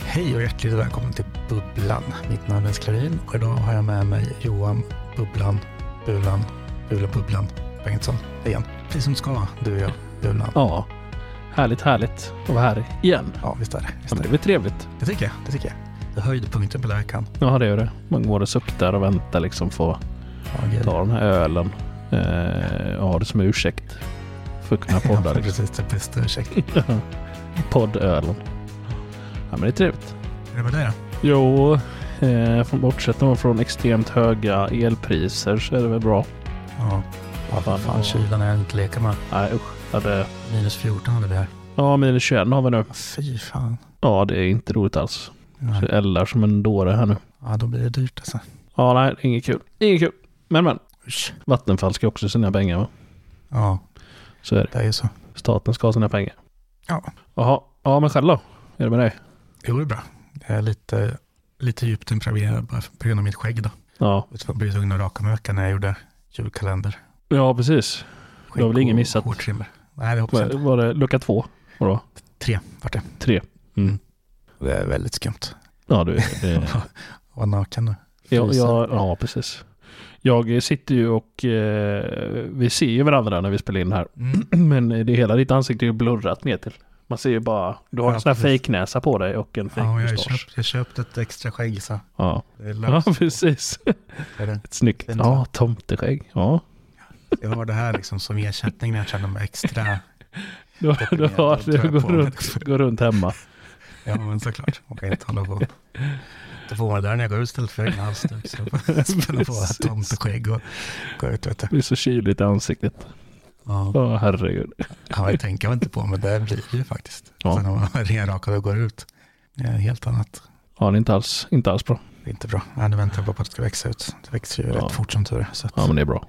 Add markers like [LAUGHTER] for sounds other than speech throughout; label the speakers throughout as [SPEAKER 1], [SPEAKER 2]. [SPEAKER 1] Hej och hjärtligt välkommen till Bubblan. Mitt namn är Sklarin och idag har jag med mig Johan Bubblan, Bulan, Bula Bubblan Bengtsson. Hej igen. Precis som det ska vara, du och jag, Bulan.
[SPEAKER 2] Ja, härligt, härligt att vara här igen.
[SPEAKER 1] Ja, visst är det.
[SPEAKER 2] Ja,
[SPEAKER 1] Visst är
[SPEAKER 2] men
[SPEAKER 1] det.
[SPEAKER 2] det blir trevligt.
[SPEAKER 1] det tycker jag. Det tycker jag. Det är höjdpunkten på läkaren.
[SPEAKER 2] Ja, det gör det. Man går och suktar och väntar liksom få
[SPEAKER 1] Ja, gud.
[SPEAKER 2] ta den här ölen eh, och ha det som ursäkt för att kunna
[SPEAKER 1] Ja, [LAUGHS]
[SPEAKER 2] podda. liksom.
[SPEAKER 1] precis. Det är bästa ursäkten.
[SPEAKER 2] [LAUGHS] Poddölen. Ja, men det är trevligt.
[SPEAKER 1] Är det med dig då?
[SPEAKER 2] Jo, eh, från- bortsett då från extremt höga elpriser så är det väl bra.
[SPEAKER 1] Ja. Ja, vad fan.
[SPEAKER 2] Ja.
[SPEAKER 1] Kylan är inte leka med.
[SPEAKER 2] Nej, usch. Ja, det,
[SPEAKER 1] Minus 14 hade vi här.
[SPEAKER 2] ja, minus 21 har vi nu.
[SPEAKER 1] Fy fan.
[SPEAKER 2] Ja, det är inte roligt alls.
[SPEAKER 1] Nej.
[SPEAKER 2] Så jag eldar som en dåre här nu.
[SPEAKER 1] Ja, då blir det dyrt alltså.
[SPEAKER 2] Ja, nej, inget kul. Inget kul. Men, men.
[SPEAKER 1] Usch.
[SPEAKER 2] Vattenfall ska också ha sina pengar, va?
[SPEAKER 1] Ja,
[SPEAKER 2] Så är det.
[SPEAKER 1] det är ju så.
[SPEAKER 2] Staten ska ha sina pengar.
[SPEAKER 1] Ja.
[SPEAKER 2] Jaha. Ja, men själv då? Är det med dig?
[SPEAKER 1] Jo, det är bra. Jag är lite, lite djupt improviserad bara för- på grund av mitt skägg då.
[SPEAKER 2] Ja.
[SPEAKER 1] Jag blev tvungen att raka mig veckan när jag gjorde julkalender.
[SPEAKER 2] Ja, precis. Du har väl ingen
[SPEAKER 1] och
[SPEAKER 2] missat?
[SPEAKER 1] Hårtrimmer. Nej, det hoppas jag
[SPEAKER 2] Var,
[SPEAKER 1] inte.
[SPEAKER 2] var det lucka två? Vadå?
[SPEAKER 1] Tre vart det.
[SPEAKER 2] Tre? Mm.
[SPEAKER 1] Det är väldigt skumt. [LAUGHS]
[SPEAKER 2] Ja, du. Eh,
[SPEAKER 1] Var naken nu.
[SPEAKER 2] jag,
[SPEAKER 1] Fryser.
[SPEAKER 2] jag, ja, precis. Jag sitter ju och eh, vi ser ju varandra när vi spelar in här.
[SPEAKER 1] Mm.
[SPEAKER 2] [CLEARS THROAT] Men det hela ditt ansikte är ju blurrat ner till. Man ser ju bara, du har
[SPEAKER 1] Ja,
[SPEAKER 2] en sån här
[SPEAKER 1] precis.
[SPEAKER 2] fejknäsa på dig och en
[SPEAKER 1] Ja, jag har
[SPEAKER 2] fejkmustasch.
[SPEAKER 1] köpt, jag köpt ett extra skägg så.
[SPEAKER 2] Ja,
[SPEAKER 1] Det är
[SPEAKER 2] ja, [LAUGHS]
[SPEAKER 1] löst.
[SPEAKER 2] precis.
[SPEAKER 1] Det är det.
[SPEAKER 2] Ett snyggt.
[SPEAKER 1] Fint,
[SPEAKER 2] Ja, tomteskägg. Ja,
[SPEAKER 1] Jag har det här liksom som ersättning när jag känner mig extra...
[SPEAKER 2] du har, [LAUGHS] du har,
[SPEAKER 1] tror
[SPEAKER 2] du
[SPEAKER 1] jag
[SPEAKER 2] går
[SPEAKER 1] på.
[SPEAKER 2] runt, går runt hemma.
[SPEAKER 1] Ja, men såklart. Man kan inte hålla på. Då får man det där när jag går ut istället för egen halsduk. Så jag får spänna på
[SPEAKER 2] Precis.
[SPEAKER 1] tomteskägg och gå ut. Vet du.
[SPEAKER 2] Det är så kyligt i ansiktet.
[SPEAKER 1] Ja.
[SPEAKER 2] Ja, herregud.
[SPEAKER 1] Ja, jag tänker jag inte på, men det blir det ju faktiskt.
[SPEAKER 2] Ja.
[SPEAKER 1] Sen när man [LAUGHS] är renrakad och går ut, det är helt annat.
[SPEAKER 2] Ja, det är inte alls, inte alls bra.
[SPEAKER 1] Det är inte bra. Ja, nu väntar jag bara på att det ska växa ut. Det växer ju
[SPEAKER 2] Ja.
[SPEAKER 1] rätt fort som tur är, så att
[SPEAKER 2] Ja, men det är bra.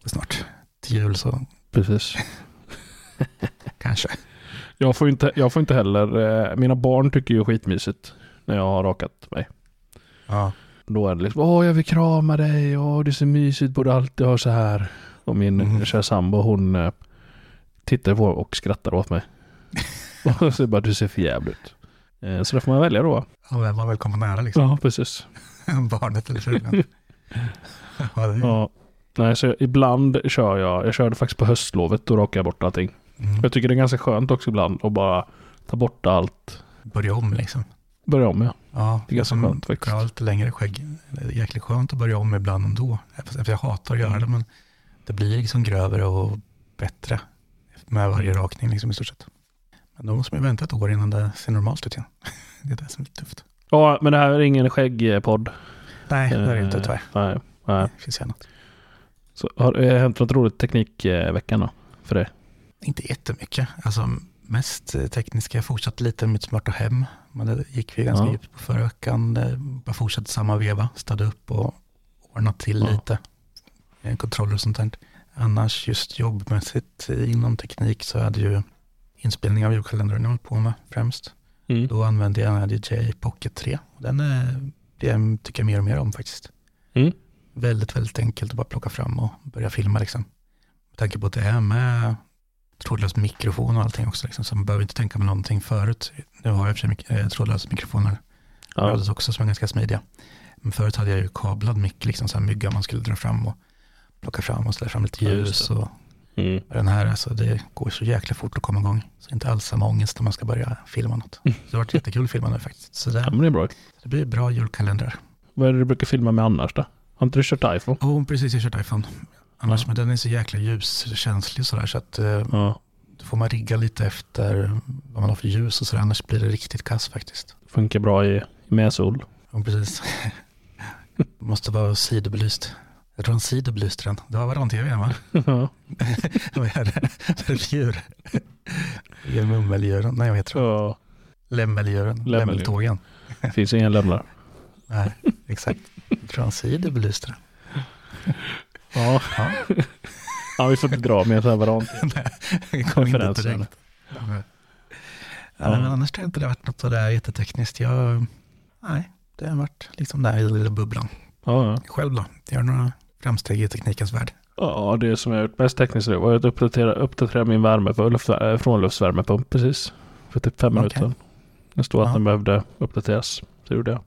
[SPEAKER 1] det är snart. Till jul så
[SPEAKER 2] Precis.
[SPEAKER 1] kanske.
[SPEAKER 2] Jag får inte, jag får inte heller, eh, mina barn tycker ju skitmysigt när jag har rakat mig.
[SPEAKER 1] Ja,
[SPEAKER 2] Då är det liksom, åh jag vill krama dig, åh det är så mysigt, borde alltid ha så här. Och min
[SPEAKER 1] Mhm.
[SPEAKER 2] kära sambo hon eh, tittar på och skrattar åt [LAUGHS] mig. och så bara, du ser för jävligt ut. Eh, Så där får man välja då.
[SPEAKER 1] ja vem man vill komma nära liksom.
[SPEAKER 2] Ja, precis.
[SPEAKER 1] [LAUGHS] Barnet eller
[SPEAKER 2] [LAUGHS]
[SPEAKER 1] frugan. ja, det är...
[SPEAKER 2] Ja. Nej, så ibland kör jag, jag körde faktiskt på höstlovet, då rakar jag bort allting.
[SPEAKER 1] mm.
[SPEAKER 2] Jag tycker det är ganska skönt också ibland att bara ta bort allt,
[SPEAKER 1] Börja om liksom.
[SPEAKER 2] börja om ja.
[SPEAKER 1] Mm, Ja,
[SPEAKER 2] Det är ganska
[SPEAKER 1] som
[SPEAKER 2] skönt faktiskt.
[SPEAKER 1] Jag har lite längre skägg. Det är jäkligt skönt att börja om ibland ändå. Fast Jag hatar att göra det, men det blir liksom grövre och bättre med varje rakning liksom i stort sett. Men då måste man ju vänta ett år innan det ser normalt ut igen. [LAUGHS] Det är det som är lite tufft.
[SPEAKER 2] Ja, men det här är ingen skäggpodd. Eh,
[SPEAKER 1] Nej,
[SPEAKER 2] Mm.
[SPEAKER 1] det är det inte tyvärr.
[SPEAKER 2] Nej, nej.
[SPEAKER 1] Det finns ju annat.
[SPEAKER 2] Så har det hänt något roligt teknikveckan då? För dig?
[SPEAKER 1] Inte jättemycket. Alltså mest eh, tekniska. Jag fortsatte lite med mitt smarta hem. Men det gick vi ganska
[SPEAKER 2] Ja.
[SPEAKER 1] djupt på förra veckan. Eh, Bara fortsatte samma veva. Städade upp och ordnade till
[SPEAKER 2] Ja.
[SPEAKER 1] lite. Eh, Kontroller och sånt där. Annars just jobbmässigt eh, inom teknik så hade ju inspelning av julkalendern jag håller på med främst.
[SPEAKER 2] Mm.
[SPEAKER 1] Då använde jag en DJI Pocket 3. Den är, det tycker jag mer och mer om faktiskt.
[SPEAKER 2] Mm.
[SPEAKER 1] Väldigt, väldigt enkelt att bara plocka fram och börja filma liksom. Med tanke på att det är med trådlös mikrofon och allting också liksom, så man behöver inte tänka på någonting förut. Nu har jag i och för sig mik- eh, trådlösa mikrofoner
[SPEAKER 2] Ja.
[SPEAKER 1] rördes också som är ganska smidiga. Men förut hade jag ju kablad mick, liksom så här mygga man skulle dra fram och plocka fram och släppa fram lite
[SPEAKER 2] Ja,
[SPEAKER 1] ljus.
[SPEAKER 2] just
[SPEAKER 1] och
[SPEAKER 2] Mm.
[SPEAKER 1] den här, alltså, det går så jäkla fort att komma igång. Så det är inte alls samma ångest när man ska börja filma något. Så det har varit jättekul att filma nu faktiskt. Så
[SPEAKER 2] ja,
[SPEAKER 1] det,
[SPEAKER 2] men det är bra.
[SPEAKER 1] det blir bra julkalendrar.
[SPEAKER 2] Vad är det du brukar filma med annars då? Har inte du kört iPhone?
[SPEAKER 1] Jo, precis, jag kört iPhone. Annars, men den är så jäkla ljuskänslig sådär så att eh,
[SPEAKER 2] Ja,
[SPEAKER 1] då får man rigga lite efter vad man har för ljus och sådär. Annars blir det riktigt kass faktiskt.
[SPEAKER 2] funkar bra i, med sol.
[SPEAKER 1] Ja, precis. [LAUGHS] Måste vara sidobelyst. Jag tror han sidobelyste den. Det var varann-tv [LAUGHS] va?
[SPEAKER 2] ja.
[SPEAKER 1] Vad är det för djur? Det är Mummeldjuren? Nej, vad heter det?
[SPEAKER 2] Ja.
[SPEAKER 1] Lämmeldjuren?
[SPEAKER 2] Lämmeldjur.
[SPEAKER 1] Lämmeltågen?
[SPEAKER 2] Finns ingen lämnare.
[SPEAKER 1] Nej, exakt. Jag tror han sidobelyste den.
[SPEAKER 2] Ja. [LAUGHS]
[SPEAKER 1] Ja.
[SPEAKER 2] ja, vi får inte dra med så här varandra.
[SPEAKER 1] Jag kom inte
[SPEAKER 2] Referenser.
[SPEAKER 1] direkt. Ja. Ja, men annars tror jag inte det har varit något sådär jättetekniskt. Jag, nej, det har varit liksom där i den lilla bubblan.
[SPEAKER 2] Ja, ja.
[SPEAKER 1] Själv då? Gör några framsteg i teknikens värld?
[SPEAKER 2] ja, det som jag har gjort mest tekniskt var att uppdatera, uppdatera min värme för luft, äh, frånluftsvärmepump precis. För typ fem
[SPEAKER 1] Okej.
[SPEAKER 2] minuter sedan. Det stod att
[SPEAKER 1] Ja.
[SPEAKER 2] den behövde uppdateras. Så gjorde jag.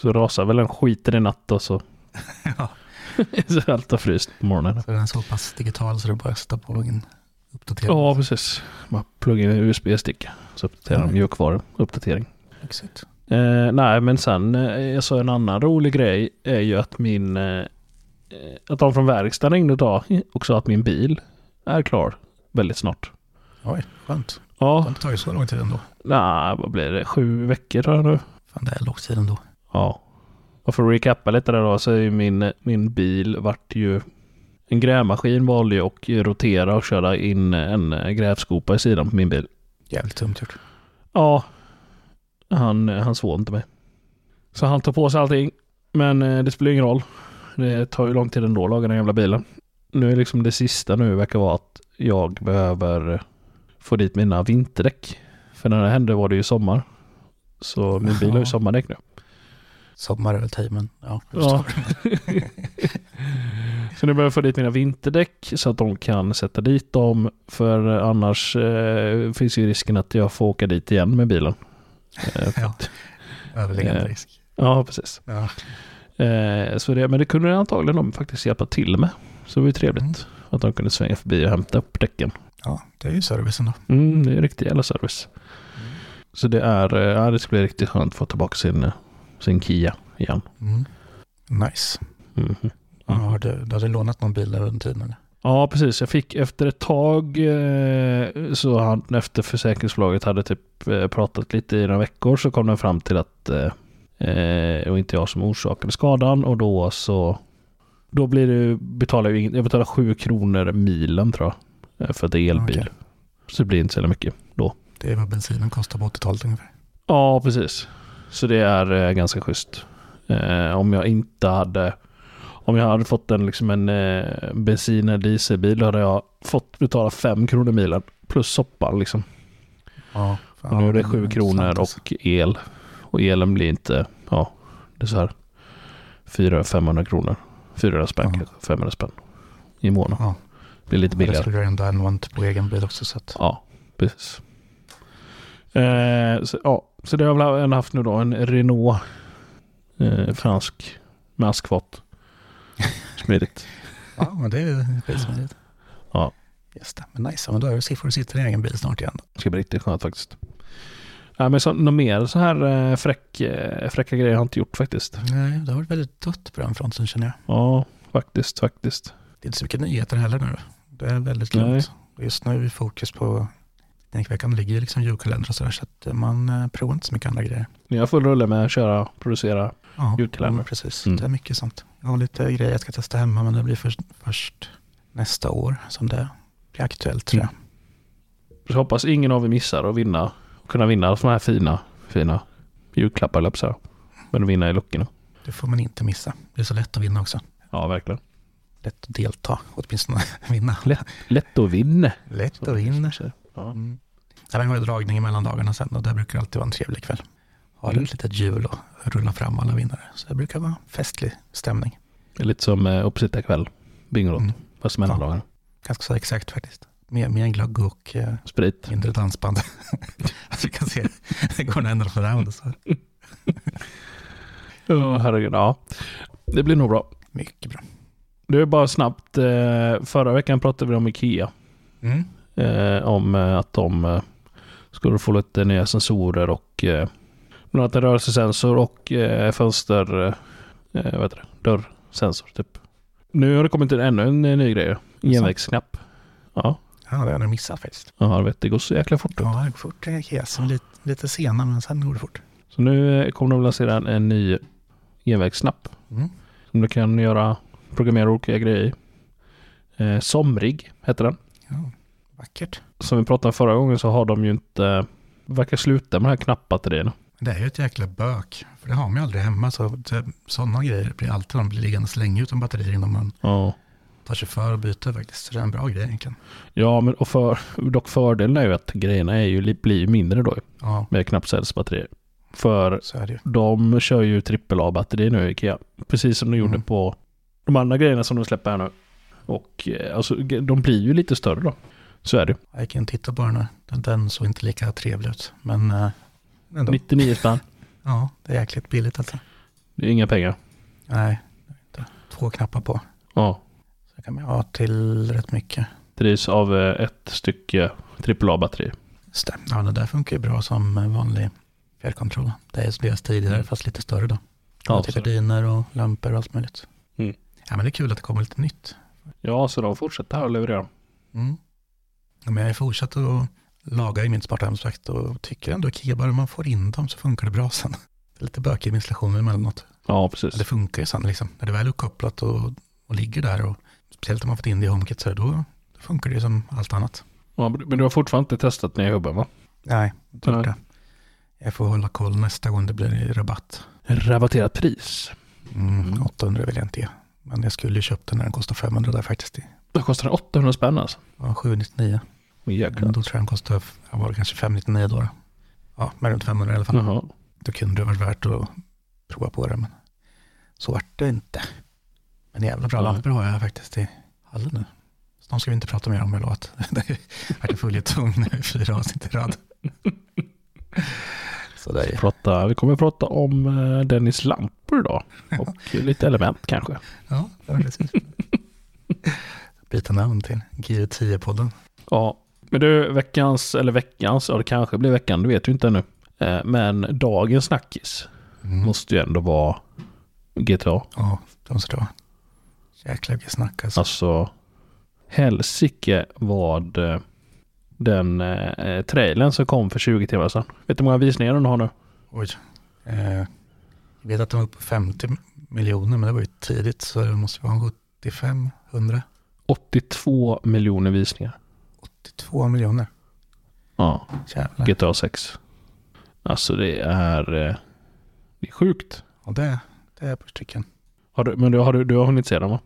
[SPEAKER 2] Så rasade väl en skiten i natt och så.
[SPEAKER 1] [LAUGHS] Ja.
[SPEAKER 2] [LAUGHS] så allt har fryst på morgonen.
[SPEAKER 1] Så den är så pass digital så det är bara att sätta på en uppdatering.
[SPEAKER 2] Ja, precis. Man pluggar in en USB-sticka. Så uppdaterar de
[SPEAKER 1] Ja.
[SPEAKER 2] mjukvaran. Uppdatering.
[SPEAKER 1] Lyxigt.
[SPEAKER 2] Eh, nej, men sen eh, jag sa en annan rolig grej är ju att min... Eh, att de från verkstaden ringde idag och sa att min bil är klar väldigt snart.
[SPEAKER 1] Oj, skönt.
[SPEAKER 2] Ja,
[SPEAKER 1] Det tar ju så lång tid ändå.
[SPEAKER 2] nej, vad blir det? Sju veckor tror jag nu.
[SPEAKER 1] Fan, det är lång tid ändå.
[SPEAKER 2] Ja. Och för att recappa lite där då så är ju min, min bil vart ju... En grävmaskin valde ju att rotera och köra in en grävskopa i sidan på min bil.
[SPEAKER 1] Jävligt dumt gjort.
[SPEAKER 2] Ja, han, han svor inte mig. Så han tar på sig allting. Men eh, det spelar ingen roll. Det tar ju lång tid ändå att laga den jävla bilen. Nu är liksom det sista nu verkar vara att jag behöver eh, få dit mina vinterdäck. För när det hände var det ju sommar. Så min bil har ju
[SPEAKER 1] Ja.
[SPEAKER 2] sommardäck nu.
[SPEAKER 1] Sommar är väl timen. Ja, jag
[SPEAKER 2] Ja.
[SPEAKER 1] förstår.
[SPEAKER 2] så nu behöver jag få dit mina vinterdäck så att de kan sätta dit dem. För annars eh, finns ju risken att jag får åka dit igen med bilen. Eh,
[SPEAKER 1] Ja. Överliggande
[SPEAKER 2] Eh.
[SPEAKER 1] risk.
[SPEAKER 2] ja, precis.
[SPEAKER 1] Ja.
[SPEAKER 2] Eh, så det, men det kunde antagligen de faktiskt hjälpa till med. Så det var ju trevligt
[SPEAKER 1] Mm.
[SPEAKER 2] att de kunde svänga förbi och hämta upp däcken.
[SPEAKER 1] ja, det är ju servicen då.
[SPEAKER 2] Mm, det är riktig jävla service. Så det är, eh, ja, det ska bli riktigt skönt att få tillbaka sin, eh, sin Kia igen.
[SPEAKER 1] Mm. Nice.
[SPEAKER 2] Mhm.
[SPEAKER 1] Ja, har du, du hade lånat någon bil där under tiden eller?
[SPEAKER 2] Ja, precis. Jag fick efter ett tag eh, så han efter försäkringsbolaget hade typ eh, pratat lite i några veckor så kom den fram till att eh, eh, det var inte jag som orsakade skadan och då så då blir det ju- betalar jag, ju ingen- jag betalar 7 kronor milen tror jag eh, för att det är elbil.
[SPEAKER 1] Okej.
[SPEAKER 2] Så det blir inte så jävla mycket då.
[SPEAKER 1] Det är vad bensinen kostar på 80-talet ungefär.
[SPEAKER 2] Ja, precis. Så det är eh, ganska schysst. Eh, om jag inte hade om jag hade fått en, liksom en eh, bensin eller dieselbil då hade jag fått betala 5 kronor milen plus soppan. Liksom.
[SPEAKER 1] Ja, fan,
[SPEAKER 2] och nu är det
[SPEAKER 1] är
[SPEAKER 2] 7
[SPEAKER 1] intressant
[SPEAKER 2] kronor
[SPEAKER 1] alltså.
[SPEAKER 2] och el. Och elen blir inte, ja, det är så här 400-500 kronor. 400 spänn
[SPEAKER 1] Ja.
[SPEAKER 2] kanske, 500 spänn i månaden.
[SPEAKER 1] Ja,
[SPEAKER 2] Blir lite
[SPEAKER 1] men det
[SPEAKER 2] billigare.
[SPEAKER 1] skulle jag ändå använt på egen bil också. Så att,
[SPEAKER 2] Ja, precis. Eh, så, ja, så det har jag väl även haft nu då. En Renault. Eh, fransk. Med askfat. [LAUGHS] Smidigt.
[SPEAKER 1] ja, men det är ju skitsmidigt.
[SPEAKER 2] Ja.
[SPEAKER 1] Just det, men nice. Ja, Men då är det siffror du sitter i egen bil snart igen.
[SPEAKER 2] Det ska bli riktigt skönt faktiskt. Nej, men så, något mer så här eh, fräck, eh, fräcka grejer har jag inte gjort faktiskt.
[SPEAKER 1] Nej, det har varit väldigt dött på den fronten känner jag.
[SPEAKER 2] Ja, faktiskt, faktiskt.
[SPEAKER 1] Det är inte så mycket nyheter heller nu. Det är väldigt
[SPEAKER 2] Nej.
[SPEAKER 1] lugnt. Och Just nu är fokus på Teknikveckan ligger ju liksom julkalender och sådär så att man eh, provar inte så mycket andra grejer.
[SPEAKER 2] Ni har full rulle med att köra, producera.
[SPEAKER 1] Ja,
[SPEAKER 2] Julkalender.
[SPEAKER 1] ja, precis.
[SPEAKER 2] Mm.
[SPEAKER 1] Det är mycket sånt. Jag har lite grejer jag ska testa hemma men det blir först, först nästa år som det blir aktuellt tror
[SPEAKER 2] Mm.
[SPEAKER 1] jag.
[SPEAKER 2] Så hoppas ingen av er missar att vinna. Och kunna vinna sådana här fina, fina julklappar, höll jag på att säga. Men vinna i luckorna.
[SPEAKER 1] Det får man inte missa. Det är så lätt att vinna också.
[SPEAKER 2] Ja, verkligen.
[SPEAKER 1] Lätt att delta, åtminstone [LAUGHS] vinna.
[SPEAKER 2] Lätt att vinna.
[SPEAKER 1] Lätt att vinna.
[SPEAKER 2] Ja.
[SPEAKER 1] Mm. Ja, Den går ju dragning i mellandagarna sen och där brukar det alltid vara en trevlig kväll. Har
[SPEAKER 2] Mm.
[SPEAKER 1] ett litet hjul och rulla fram alla vinnare. Så det brukar vara festlig stämning.
[SPEAKER 2] Det är lite som eh, uppesittarkväll, Bingolotto,
[SPEAKER 1] Mm.
[SPEAKER 2] fast mellandagar.
[SPEAKER 1] Ganska så exakt faktiskt. Med, med en glögg och eh,
[SPEAKER 2] Sprit.
[SPEAKER 1] mindre dansband. [LAUGHS] Att vi kan se, det går en ändra för round. Så.
[SPEAKER 2] Ja, herregud. Ja. Det blir nog bra.
[SPEAKER 1] Mycket bra.
[SPEAKER 2] Du, är bara snabbt. eh, Förra veckan pratade vi om Ikea.
[SPEAKER 1] Mm.
[SPEAKER 2] eh, Om eh, att de eh, skulle få lite nya sensorer och eh, bland annat en rörelsesensor och eh, fönster... eh, eh, Vad heter det? Dörrsensor, typ. Nu har det kommit in ännu en eh, ny grej. Genvägsknapp. Ja,
[SPEAKER 1] Ja, det har jag nog missat faktiskt.
[SPEAKER 2] ja, jag vet. Det går så jäkla fort.
[SPEAKER 1] Ja, det går fort. Det är som lite, lite sena, men sen går det fort.
[SPEAKER 2] Så nu eh, kommer de lansera en, en ny genvägsknapp.
[SPEAKER 1] Mm.
[SPEAKER 2] Som du kan göra, programmera olika grejer i. Eh, Somrig heter den.
[SPEAKER 1] Ja, vackert.
[SPEAKER 2] Som vi pratade om förra gången så har de ju inte, verkar sluta med de här knappbatterierna.
[SPEAKER 1] Det är ju ett jäkla bök, för det har man ju aldrig hemma. Så sådana grejer blir alltid de blir liggande länge utan batterier innan man
[SPEAKER 2] Ja.
[SPEAKER 1] tar sig för och byter faktiskt. Så det är en bra grej egentligen.
[SPEAKER 2] Ja, men och för, dock fördelen är ju att grejerna är ju, li- blir ju mindre då
[SPEAKER 1] Ja,
[SPEAKER 2] med knappcellsbatterier. För
[SPEAKER 1] så är det ju.
[SPEAKER 2] de kör ju AAA-batterier nu i Ikea. Precis som de gjorde
[SPEAKER 1] Mm.
[SPEAKER 2] på de andra grejerna som de släpper här nu. Och eh, alltså, ge- de blir ju lite större då. Så är det.
[SPEAKER 1] Jag kan titta på den här. Den, den såg inte lika trevlig ut, men eh, ändå.
[SPEAKER 2] 99 spänn.
[SPEAKER 1] Ja, det är jäkligt billigt alltså.
[SPEAKER 2] Det är inga pengar.
[SPEAKER 1] Nej, det är inte. två knappar på.
[SPEAKER 2] Ja.
[SPEAKER 1] Så det kan man ha till rätt mycket.
[SPEAKER 2] Drivs av eh, ett stycke AAA-batteri.
[SPEAKER 1] Stämmer. Ja, det där funkar ju bra som eh, vanlig fjärrkontroll. Det är som deras tidigare,
[SPEAKER 2] Mm.
[SPEAKER 1] fast lite större då.
[SPEAKER 2] Ja,
[SPEAKER 1] Ja, typ. till
[SPEAKER 2] absolut.
[SPEAKER 1] gardiner och lampor och allt möjligt.
[SPEAKER 2] Mm.
[SPEAKER 1] Ja, men det är kul att det kommer lite nytt.
[SPEAKER 2] Ja, så de fortsätter här och leverera.
[SPEAKER 1] Mm. Ja, men jag har ju fortsatt att laga i mitt smarta hemsvakt och tycker ändå Ikea, bara man får in dem så funkar det bra sen. [LAUGHS] Det är lite bökig med installationen emellanåt.
[SPEAKER 2] Ja,
[SPEAKER 1] Men det
[SPEAKER 2] precis.
[SPEAKER 1] funkar ju sen liksom. När det väl är uppkopplat och, och ligger där och speciellt om man fått in det i HomeKit så här, då, då funkar det ju som allt annat.
[SPEAKER 2] Ja, men men du har fortfarande inte testat nya hubben va?
[SPEAKER 1] Nej, jag tror
[SPEAKER 2] Nej.
[SPEAKER 1] Typ det. Jag får hålla koll nästa gång det blir rabatt.
[SPEAKER 2] Rabatterat pris.
[SPEAKER 1] Mm, 800 vill jag inte ge. Men jag skulle ju köpt den när den kostar 500 där faktiskt. Det
[SPEAKER 2] Det kostar 800 spänn alltså.
[SPEAKER 1] var 799.
[SPEAKER 2] Åh,
[SPEAKER 1] Men
[SPEAKER 2] jäklar.
[SPEAKER 1] då tror jag den kostade, jag var det kanske 599 då. då. Ja, men runt 500 i alla fall.
[SPEAKER 2] Jaha.
[SPEAKER 1] Då kunde det varit värt att prova på det, men så vart det inte. Men jävla bra
[SPEAKER 2] Nej.
[SPEAKER 1] lampor har jag faktiskt i hallen nu. Snart ska vi inte prata mer om jag låt. [LAUGHS] Det har varit en följetong nu i fyra avsnitt i rad. [LAUGHS] Så det är
[SPEAKER 2] Prata, vi kommer att prata om eh, Dennis lampor idag. [LAUGHS] Och lite element kanske.
[SPEAKER 1] Ja, det var precis. [LAUGHS] Byta namn till GU10-podden.
[SPEAKER 2] Ja. Men du, veckans, eller veckans, ja det kanske blir veckan, det vet vi inte ännu. Eh, Men dagens snackis måste ju ändå vara GTA.
[SPEAKER 1] Ja, de måste det vara. Jäklar vilket snack alltså.
[SPEAKER 2] Alltså, helsike vad eh, den eh, trailern som kom för 20 timmar sedan. Vet du hur många visningar den har nu?
[SPEAKER 1] Oj. Eh, jag vet att de var uppe på 50 miljoner, men det var ju tidigt, så det måste vara en 75, 100,
[SPEAKER 2] 82 miljoner visningar.
[SPEAKER 1] 82 miljoner.
[SPEAKER 2] Ja,
[SPEAKER 1] Jävlar.
[SPEAKER 2] GTA 6. Alltså det är, eh, det är sjukt.
[SPEAKER 1] Ja, det, det är på stycken.
[SPEAKER 2] Har du, men du har, du, du har hunnit se den va?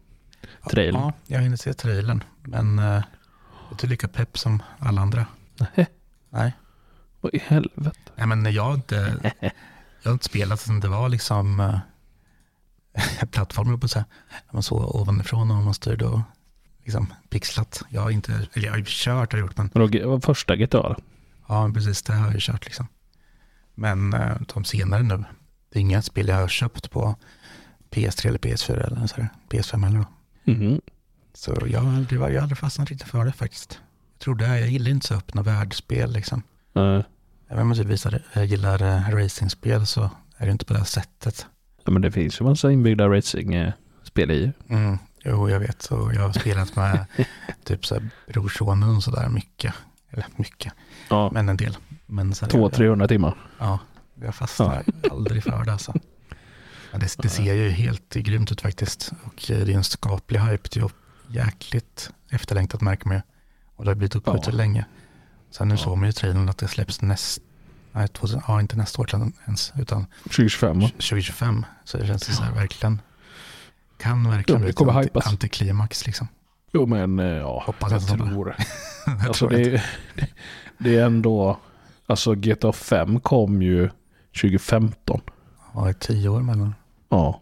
[SPEAKER 1] Ja,
[SPEAKER 2] Trailern.
[SPEAKER 1] Ja, jag hinner se trailern, men eh, jag är inte lika pepp som alla andra.
[SPEAKER 2] Nej.
[SPEAKER 1] Nej.
[SPEAKER 2] Vad i helvete?
[SPEAKER 1] Nej, men jag har inte, jag har inte spelat sen det var liksom eh, [LAUGHS] plattformen, på så här, när man såg ovanifrån och man styrde och liksom pixlat. Jag har inte, eller jag har ju kört har jag gjort, men
[SPEAKER 2] Men då, G- vad första GTA då?
[SPEAKER 1] Ja, men precis. Det har jag ju kört liksom. Men eh, de senare nu, det är inga spel jag har köpt på PS3 eller PS4 eller så här, PS5 eller något.
[SPEAKER 2] Mhm.
[SPEAKER 1] Så jag, har aldrig- jag har aldrig fastnat riktigt för det faktiskt. Jag tror det, jag gillar inte så öppna världsspel liksom.
[SPEAKER 2] Eh,
[SPEAKER 1] Även om jag typ visar, jag gillar eh, racingspel så är det inte på det här sättet.
[SPEAKER 2] ja, men det finns ju massa inbyggda racing-spel i.
[SPEAKER 1] Mm. Jo, jag vet. Så jag har spelat med typ så här brorsonen och så där mycket. Eller mycket,
[SPEAKER 2] Ja,
[SPEAKER 1] men en del. Men så här-
[SPEAKER 2] 200-300 timmar.
[SPEAKER 1] Ja, jag fastnar aldrig för det alltså. Ja, det, det ser ju helt grymt ut faktiskt. Och eh, det är en skaplig hype. Det är ju jäkligt efterlängtat märker man ju. Och det har blivit uppskjutet
[SPEAKER 2] Ja.
[SPEAKER 1] länge. Sen nu såg man ju i trailern att det släpps näst, nej, 2000, ja, inte nästa år till ens, utan
[SPEAKER 2] 2025 va?
[SPEAKER 1] 2025. Så det känns ju så här verkligen, kan
[SPEAKER 2] Ja, det
[SPEAKER 1] verkligen bli ett
[SPEAKER 2] kommer
[SPEAKER 1] anti,
[SPEAKER 2] hypas.
[SPEAKER 1] antiklimax liksom. [LAUGHS]
[SPEAKER 2] Jo men eh, ja,
[SPEAKER 1] Hoppas
[SPEAKER 2] jag
[SPEAKER 1] att de-
[SPEAKER 2] tror.
[SPEAKER 1] Jag
[SPEAKER 2] Alltså,
[SPEAKER 1] tror
[SPEAKER 2] det,
[SPEAKER 1] att-
[SPEAKER 2] är, [LAUGHS] Det är ändå... Alltså GTA 5 kom ju 2015.
[SPEAKER 1] Ja, det är tio år mellan.
[SPEAKER 2] Ja.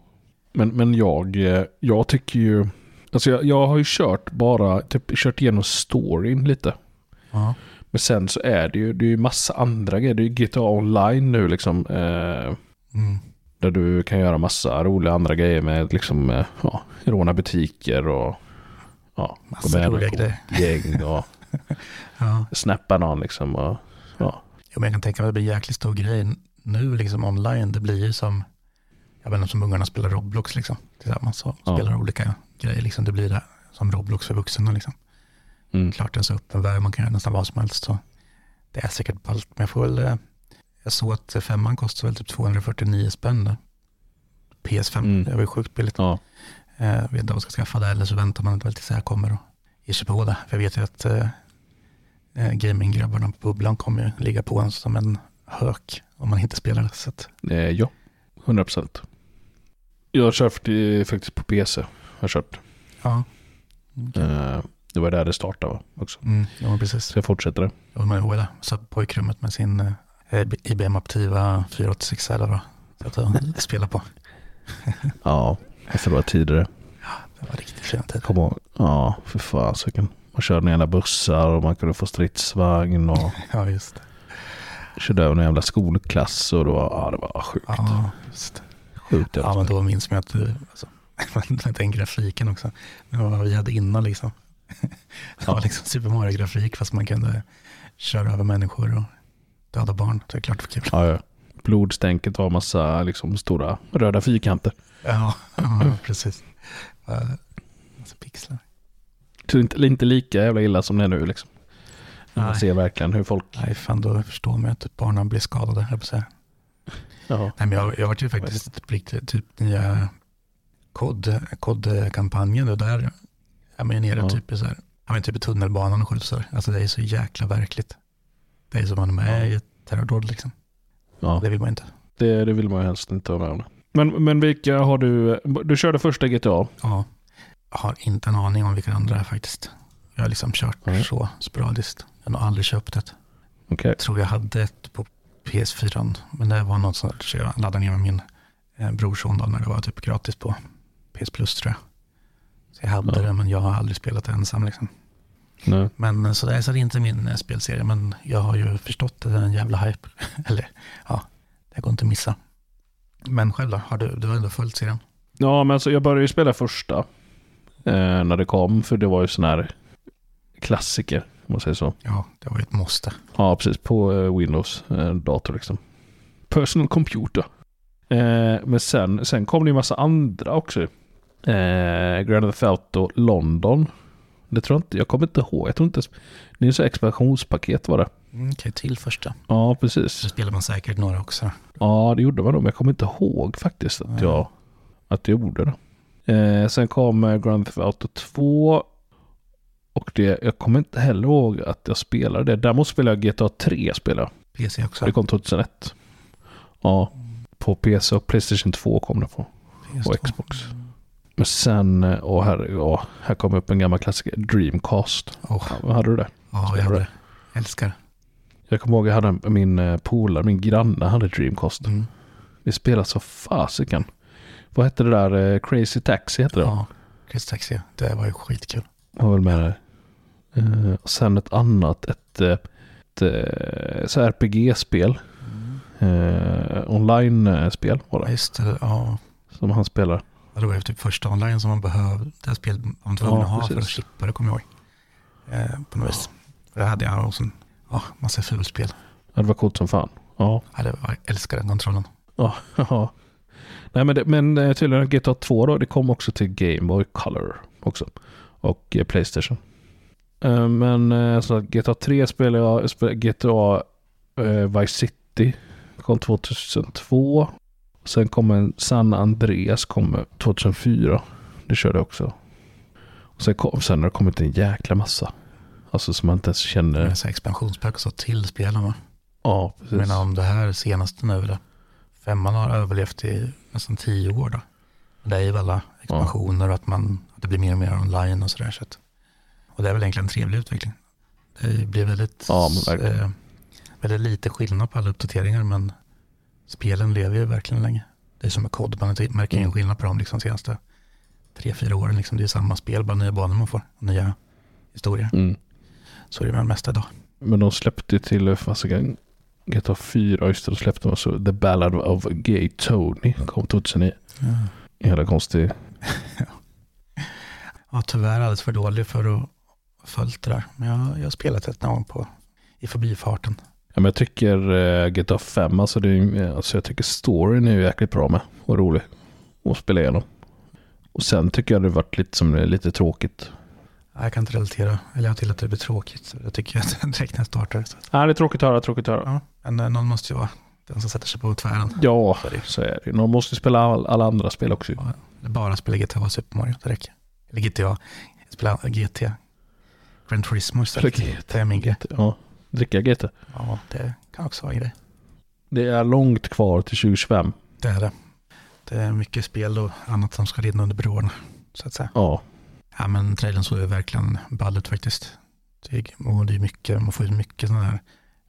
[SPEAKER 2] Men, men jag, eh, jag tycker ju... Alltså jag, jag har ju kört bara, typ kört igenom storyn lite.
[SPEAKER 1] Ja.
[SPEAKER 2] Men sen så är det ju, det är ju massa andra grejer. Det är ju GTA online nu liksom. Eh,
[SPEAKER 1] Mm.
[SPEAKER 2] där du kan göra massa roliga andra grejer med liksom, eh, ja, råna butiker och... Ja,
[SPEAKER 1] Massa
[SPEAKER 2] gå med
[SPEAKER 1] roliga
[SPEAKER 2] på
[SPEAKER 1] grejer.
[SPEAKER 2] Gäng och
[SPEAKER 1] [LAUGHS]
[SPEAKER 2] [LAUGHS]
[SPEAKER 1] Ja.
[SPEAKER 2] snappa någon liksom. Och, ja.
[SPEAKER 1] Jo, men jag kan tänka mig att det blir en jäkligt stor grej nu liksom online. Det blir ju som, jag vet inte, som ungarna spelar Roblox liksom tillsammans och
[SPEAKER 2] Ja.
[SPEAKER 1] spelar olika grejer liksom. Det blir det som Roblox för vuxna liksom.
[SPEAKER 2] Mm.
[SPEAKER 1] Klart det är så öppen värld, man kan göra nästan vad som helst så det är säkert ballt. Men jag får väl, eh, jag såg att femman kostar väl typ 249 spänn där. PS5,
[SPEAKER 2] Mm.
[SPEAKER 1] det var ju sjukt billigt.
[SPEAKER 2] Ja.
[SPEAKER 1] Eh, vet inte om jag ska skaffa det eller så väntar man väl tills det här kommer och ger sig på det. För jag vet ju att eh, eh, gaminggrabbarna på bubblan kommer ju ligga på en som en hök om man inte spelar det. Så att,
[SPEAKER 2] Eh, ja, 100 procent. Jag kör fakt- faktiskt på PC. Jag har kört.
[SPEAKER 1] ja,
[SPEAKER 2] Eh, det var där det startade va? också.
[SPEAKER 1] mm, ja men precis.
[SPEAKER 2] Så jag fortsätter det.
[SPEAKER 1] Jag var med ihåg det. Satt på pojkrummet med sin eh, IBM Aptiva 486 eller vad det var. Satt och spelade eh, på.
[SPEAKER 2] Ja, fast det var tidigare.
[SPEAKER 1] Det var riktigt fina tider.
[SPEAKER 2] Kom ihåg. Ja, för fasiken. Man körde några jävla bussar och man kunde få stridsvagn och
[SPEAKER 1] Ja, just det.
[SPEAKER 2] körde över någon jävla skolklass och det var, ja, det var sjukt.
[SPEAKER 1] Ja, just det.
[SPEAKER 2] Sjukt
[SPEAKER 1] Ja, men
[SPEAKER 2] jävla.
[SPEAKER 1] då minns man att du, alltså, [LAUGHS] den grafiken också, det var vad vi hade innan liksom. [LAUGHS] Det var liksom Super Mario-grafik fast man kunde köra över människor och döda barn. Det är klart det var kul.
[SPEAKER 2] Ja, ja. Blodstänket var massa liksom, stora röda fyrkanter.
[SPEAKER 1] Ja, [LAUGHS] ja precis. Eh, Massa pixlar.
[SPEAKER 2] Så inte, inte lika jävla illa som det är nu liksom. Man
[SPEAKER 1] Nej.
[SPEAKER 2] ser verkligen hur folk...
[SPEAKER 1] Nej, fan då förstår man ju att barnen blir skadade, höll jag på att säga.
[SPEAKER 2] Ja.
[SPEAKER 1] Nej, men jag, jag var ju faktiskt på riktigt, typ nya kod, kodkampanjen och där är man ju nere
[SPEAKER 2] Ja.
[SPEAKER 1] typ i så här, ja, men typ i tunnelbanan och skjuts där. Alltså det är så jäkla verkligt. Det är som man är med i ett terrordåd liksom.
[SPEAKER 2] Ja.
[SPEAKER 1] Det vill man inte.
[SPEAKER 2] Det, det vill man ju helst inte vara med om. Men, men vilka har du... Du körde första GTA.
[SPEAKER 1] Ja. Jag har inte en aning om vilka andra är faktiskt. Jag har liksom kört
[SPEAKER 2] Mm.
[SPEAKER 1] så sporadiskt. Jag har nog aldrig köpt ett.
[SPEAKER 2] Okej.
[SPEAKER 1] Jag tror jag hade ett på PS4, men det var något sånt så jag laddade ner med min eh, brorson då när det var typ gratis på PS Plus tror jag. Så jag hade
[SPEAKER 2] Ja.
[SPEAKER 1] det, men jag har aldrig spelat det ensam liksom.
[SPEAKER 2] Nej.
[SPEAKER 1] Men eh, så det är, så det är inte min eh, spelserie, men jag har ju förstått att det är en jävla hype. [LAUGHS] Eller ja, det går inte att missa. Men själv då? Har du, du har ändå följt serien?
[SPEAKER 2] Ja, men alltså, jag började ju spela första. Eh, när det kom, för det var ju sån här klassiker. Om man säger så.
[SPEAKER 1] Ja, det var ju ett måste.
[SPEAKER 2] Ja, precis. På eh, Windows-dator liksom. Personal computer. Eh, men sen, sen kom det ju massa andra också. Eh, Grand Theft Auto London. Det tror jag inte. Jag kommer inte ihåg. Jag tror inte... Det är ju så här expansionspaket var det.
[SPEAKER 1] Mm, Okej, till första.
[SPEAKER 2] Ja, precis.
[SPEAKER 1] Så spelar man säkert några också.
[SPEAKER 2] Ja, det gjorde man nog, men jag kommer inte ihåg faktiskt att jag, att jag gjorde det. Eh, sen kom eh, Grand Theft Auto 2. Och det, jag kommer inte heller ihåg att jag spelade det. Däremot spelade jag GTA 3. Spelade. jag.
[SPEAKER 1] PC också.
[SPEAKER 2] Det kom 2001. Ja, på PC och Playstation 2 kom det på.
[SPEAKER 1] PS2.
[SPEAKER 2] Och Xbox. Men sen, eh, och här, ja, här kom upp en gammal klassiker. Dreamcast.
[SPEAKER 1] Åh,
[SPEAKER 2] Ja, hade du det?
[SPEAKER 1] Ja, jag hade det. Älskar.
[SPEAKER 2] Jag kommer ihåg jag hade en, min eh, polare, min granne hade Dreamcast.
[SPEAKER 1] Mm.
[SPEAKER 2] Vi spelade så fasiken. Vad hette det där? eh, Crazy Taxi hette det.
[SPEAKER 1] Ja, Chris Taxi. Det var ju skitkul.
[SPEAKER 2] Var väl med där. Eh, och sen ett annat, ett, eh, ett, eh, så här RPG-spel.
[SPEAKER 1] Mm.
[SPEAKER 2] Eh, Online-spel var
[SPEAKER 1] Ja,
[SPEAKER 2] det.
[SPEAKER 1] just det. Ja.
[SPEAKER 2] Som han spelar.
[SPEAKER 1] Ja, Det var ju typ första online som man behövde. Det här spelet man var tvungen
[SPEAKER 2] Ja,
[SPEAKER 1] att ha för att
[SPEAKER 2] precis.
[SPEAKER 1] chippa det, kommer jag ihåg. Eh, på något vis. För det hade jag och sen, ja, massa fulspel.
[SPEAKER 2] Ja, Det var coolt som fan. Ja.
[SPEAKER 1] Ja, det var, jag älskar den kontrollen.
[SPEAKER 2] Ja. [LAUGHS] ja. Nej men, det, men eh, tydligen GTA 2 då, det kom också till Game Boy Color också. Och eh, Playstation. Eh, Men eh, så att GTA 3 spelade jag, jag spelade GTA eh, Vice City kom 2002. Sen kom en San Andreas kom eh, 2004. Det körde jag också. Och sen, kom, sen har det kommit en jäkla massa. Alltså som man inte ens känner.
[SPEAKER 1] Med så här expansionspack och så till spelen. Va?
[SPEAKER 2] Ja,
[SPEAKER 1] Jag
[SPEAKER 2] precis.
[SPEAKER 1] menar om det här senaste nu då. Femman har överlevt i nästan tio år då. Och Det är ju alla expansioner och att, man, att det blir mer och mer online och sådär. Så att, och det är väl egentligen en trevlig utveckling. Det blir väldigt,
[SPEAKER 2] Ja, men verkligen.
[SPEAKER 1] eh, väldigt lite skillnad på alla uppdateringar men spelen lever ju verkligen länge. Det är som med kod, man inte märker
[SPEAKER 2] Mm.
[SPEAKER 1] ingen skillnad på dem liksom senaste tre, fyra åren. Liksom. Det är ju samma spel, bara nya banor man får, och nya historier.
[SPEAKER 2] Mm.
[SPEAKER 1] Så är det med det mesta idag.
[SPEAKER 2] Men de släppte till, eh, fasiken, GTA 4, just det, då släppte de så The Ballad of Gay Tony kom 2009. En jävla konstig.
[SPEAKER 1] Ja, tyvärr alldeles för dålig för att ha följt det där. Men jag, jag har spelat ett någon på, i förbifarten.
[SPEAKER 2] Ja, men jag tycker eh, GTA 5, alltså, det, är ju- alltså jag tycker storyn är ju jäkligt bra med och rolig att spela igenom. Och sen tycker jag det varit lite, som, eh, lite tråkigt.
[SPEAKER 1] Ja, Jag kan inte relatera, eller jag till att det blir tråkigt. Så jag tycker att [LAUGHS] direkt när jag startar. Så. att-
[SPEAKER 2] Nej, det är tråkigt att höra, tråkigt att höra.
[SPEAKER 1] Ja, men eh, någon måste ju vara den som sätter sig på tvären.
[SPEAKER 2] Ja, så är det. De måste ju spela all, alla andra spel också. ju.
[SPEAKER 1] Eller bara spela GTA och Super Mario, det räcker. Eller GTA, spela GT. Grand Turismo istället.
[SPEAKER 2] Eller GT.
[SPEAKER 1] Det är min grej.
[SPEAKER 2] Ja, dricka GT.
[SPEAKER 1] Ja, det kan också vara en grej.
[SPEAKER 2] Det är långt kvar till 2025.
[SPEAKER 1] Det är det. Det är mycket spel och annat som ska rinna under broarna, så att säga.
[SPEAKER 2] Ja,
[SPEAKER 1] Ja, men trailern såg ju verkligen ball ut faktiskt. Det är, och det är mycket, man får ju mycket sådana här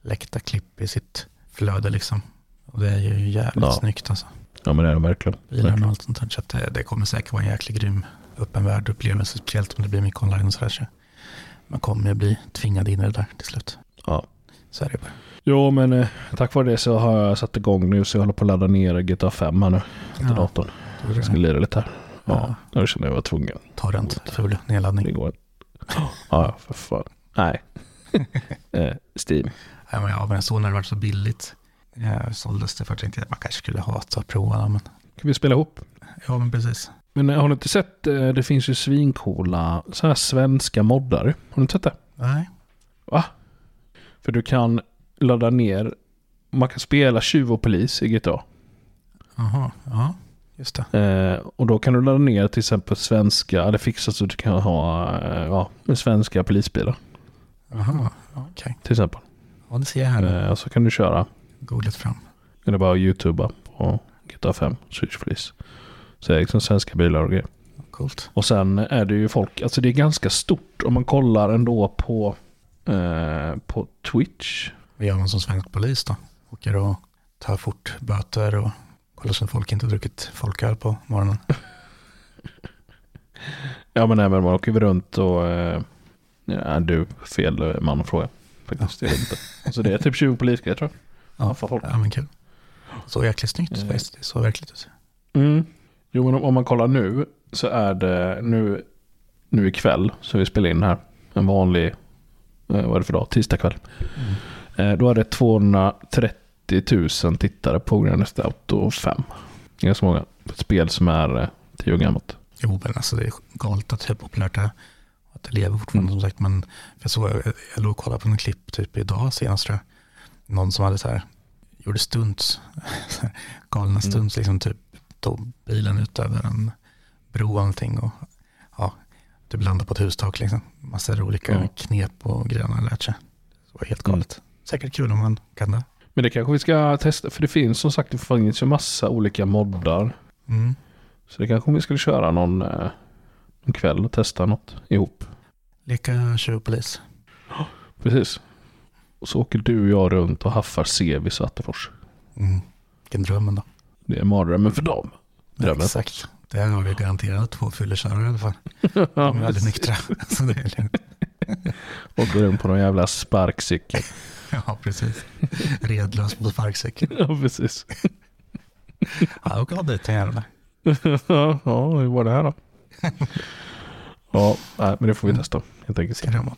[SPEAKER 1] läckta klipp i sitt flöde liksom. Och det är ju jävligt
[SPEAKER 2] Ja.
[SPEAKER 1] snyggt alltså.
[SPEAKER 2] ja men det är de verkligen.
[SPEAKER 1] Bilarna och allt sånt där. Så att det, det kommer säkert vara en jäkligt grym öppen värld-upplevelse, speciellt om det blir mycket online och sådär. Så man kommer ju bli tvingad in i det där till slut.
[SPEAKER 2] Ja.
[SPEAKER 1] Så är det bara.
[SPEAKER 2] Jo, men eh, tack vare det så har jag satt igång nu så jag håller på att ladda ner GTA 5 här nu till datorn.
[SPEAKER 1] det är
[SPEAKER 2] Jag ska lira lite här.
[SPEAKER 1] Ja.
[SPEAKER 2] Ja, nu känner jag mig tvungen.
[SPEAKER 1] Torrent, ful
[SPEAKER 2] Det
[SPEAKER 1] nedladdning.
[SPEAKER 2] går inte. Ja, ja, för fan. Nej. eh, Steam.
[SPEAKER 1] Ja, men jag såg när det var så billigt. Ja, såldes det för att jag tänkte att man kanske skulle hata att prova. det, Men,
[SPEAKER 2] Kan vi spela ihop?
[SPEAKER 1] ja, men precis.
[SPEAKER 2] Men eh, har ni inte sett, eh, det finns ju svincoola så här svenska moddar. Har ni inte sett det?
[SPEAKER 1] Nej,
[SPEAKER 2] Va? För du kan ladda ner, man kan spela tjuv och polis i GTA.
[SPEAKER 1] jaha, ja, just det.
[SPEAKER 2] Eh, och då kan du ladda ner till exempel svenska, eller fixa så du kan ha eh, ja, med svenska polisbilar
[SPEAKER 1] Jaha, okej.
[SPEAKER 2] till exempel.
[SPEAKER 1] Ja, det ser jag här nu.
[SPEAKER 2] Eh, och så kan du köra,
[SPEAKER 1] Googlat fram.
[SPEAKER 2] eller bara youtuba på GTA 5, Swedish Police. Så det är liksom svenska bilar och grejer.
[SPEAKER 1] Coolt.
[SPEAKER 2] Och sen är det ju folk, alltså det är ganska stort om man kollar ändå på, eh, på Twitch.
[SPEAKER 1] Vad gör man som svensk polis då? Åker och tar fort böter och kollar så att folk inte har druckit folköl på morgonen.
[SPEAKER 2] Ja men även man åker väl runt och... Eh, ja, du, fel man att fråga. Faktiskt, jag vet inte. Alltså det är typ 20 polisgrejer tror jag. Ja, för folk.
[SPEAKER 1] Ja, Eh. men kul. Så jäkligt snyggt
[SPEAKER 2] Mm.
[SPEAKER 1] faktiskt. Det såg verkligt ut.
[SPEAKER 2] Mm. Jo men om- om man kollar nu så är det nu, nu ikväll så vi spelar in här. En vanlig, eh, vad är det för dag? Tisdag kväll. Eh, då är det 230 000 tittare på Grand Theft Auto 5. Ganska många. Ett spel som är eh, 10 år gammalt.
[SPEAKER 1] Jo, men alltså det är galet att hur populärt det är. Att det lever fortfarande som sagt. Men jag, såg, jag låg och kollade på en klipp typ idag senast tror jag. Någon som hade så här, gjorde stunts, [LAUGHS] så här, galna stunts, liksom typ tog bilen ut över en bro och allting och ja, typ landade på ett hustak liksom. Massa olika
[SPEAKER 2] Ja.
[SPEAKER 1] knep och grejer han har lärt sig. Det var helt galet. Säkert kul om man kan det.
[SPEAKER 2] Men det kanske vi ska testa, för det finns som sagt det finns ju massa olika moddar.
[SPEAKER 1] Mm.
[SPEAKER 2] Så det kanske om vi skulle köra någon eh, en kväll och testa något ihop.
[SPEAKER 1] Leka tjuvpolis.
[SPEAKER 2] Precis. Och så åker du och jag runt och haffar CV Svartefors.
[SPEAKER 1] Mm. Vilken dröm ändå.
[SPEAKER 2] Det är mardrömmen för dem. Drömmen.
[SPEAKER 1] Exakt. Det har vi garanterat två fyllekörare i alla fall. De är
[SPEAKER 2] Ja,
[SPEAKER 1] väldigt nyktra. [LAUGHS] Så det är lugnt.
[SPEAKER 2] och går runt på någon jävla sparkcykel.
[SPEAKER 1] Ja, precis. Redlös på sparkcykel.
[SPEAKER 2] [LAUGHS] ja, precis.
[SPEAKER 1] Ja, och glad ut gärna.
[SPEAKER 2] ja, hur var det här då? ja, nej, men det får vi testa helt enkelt.
[SPEAKER 1] Ser framåt.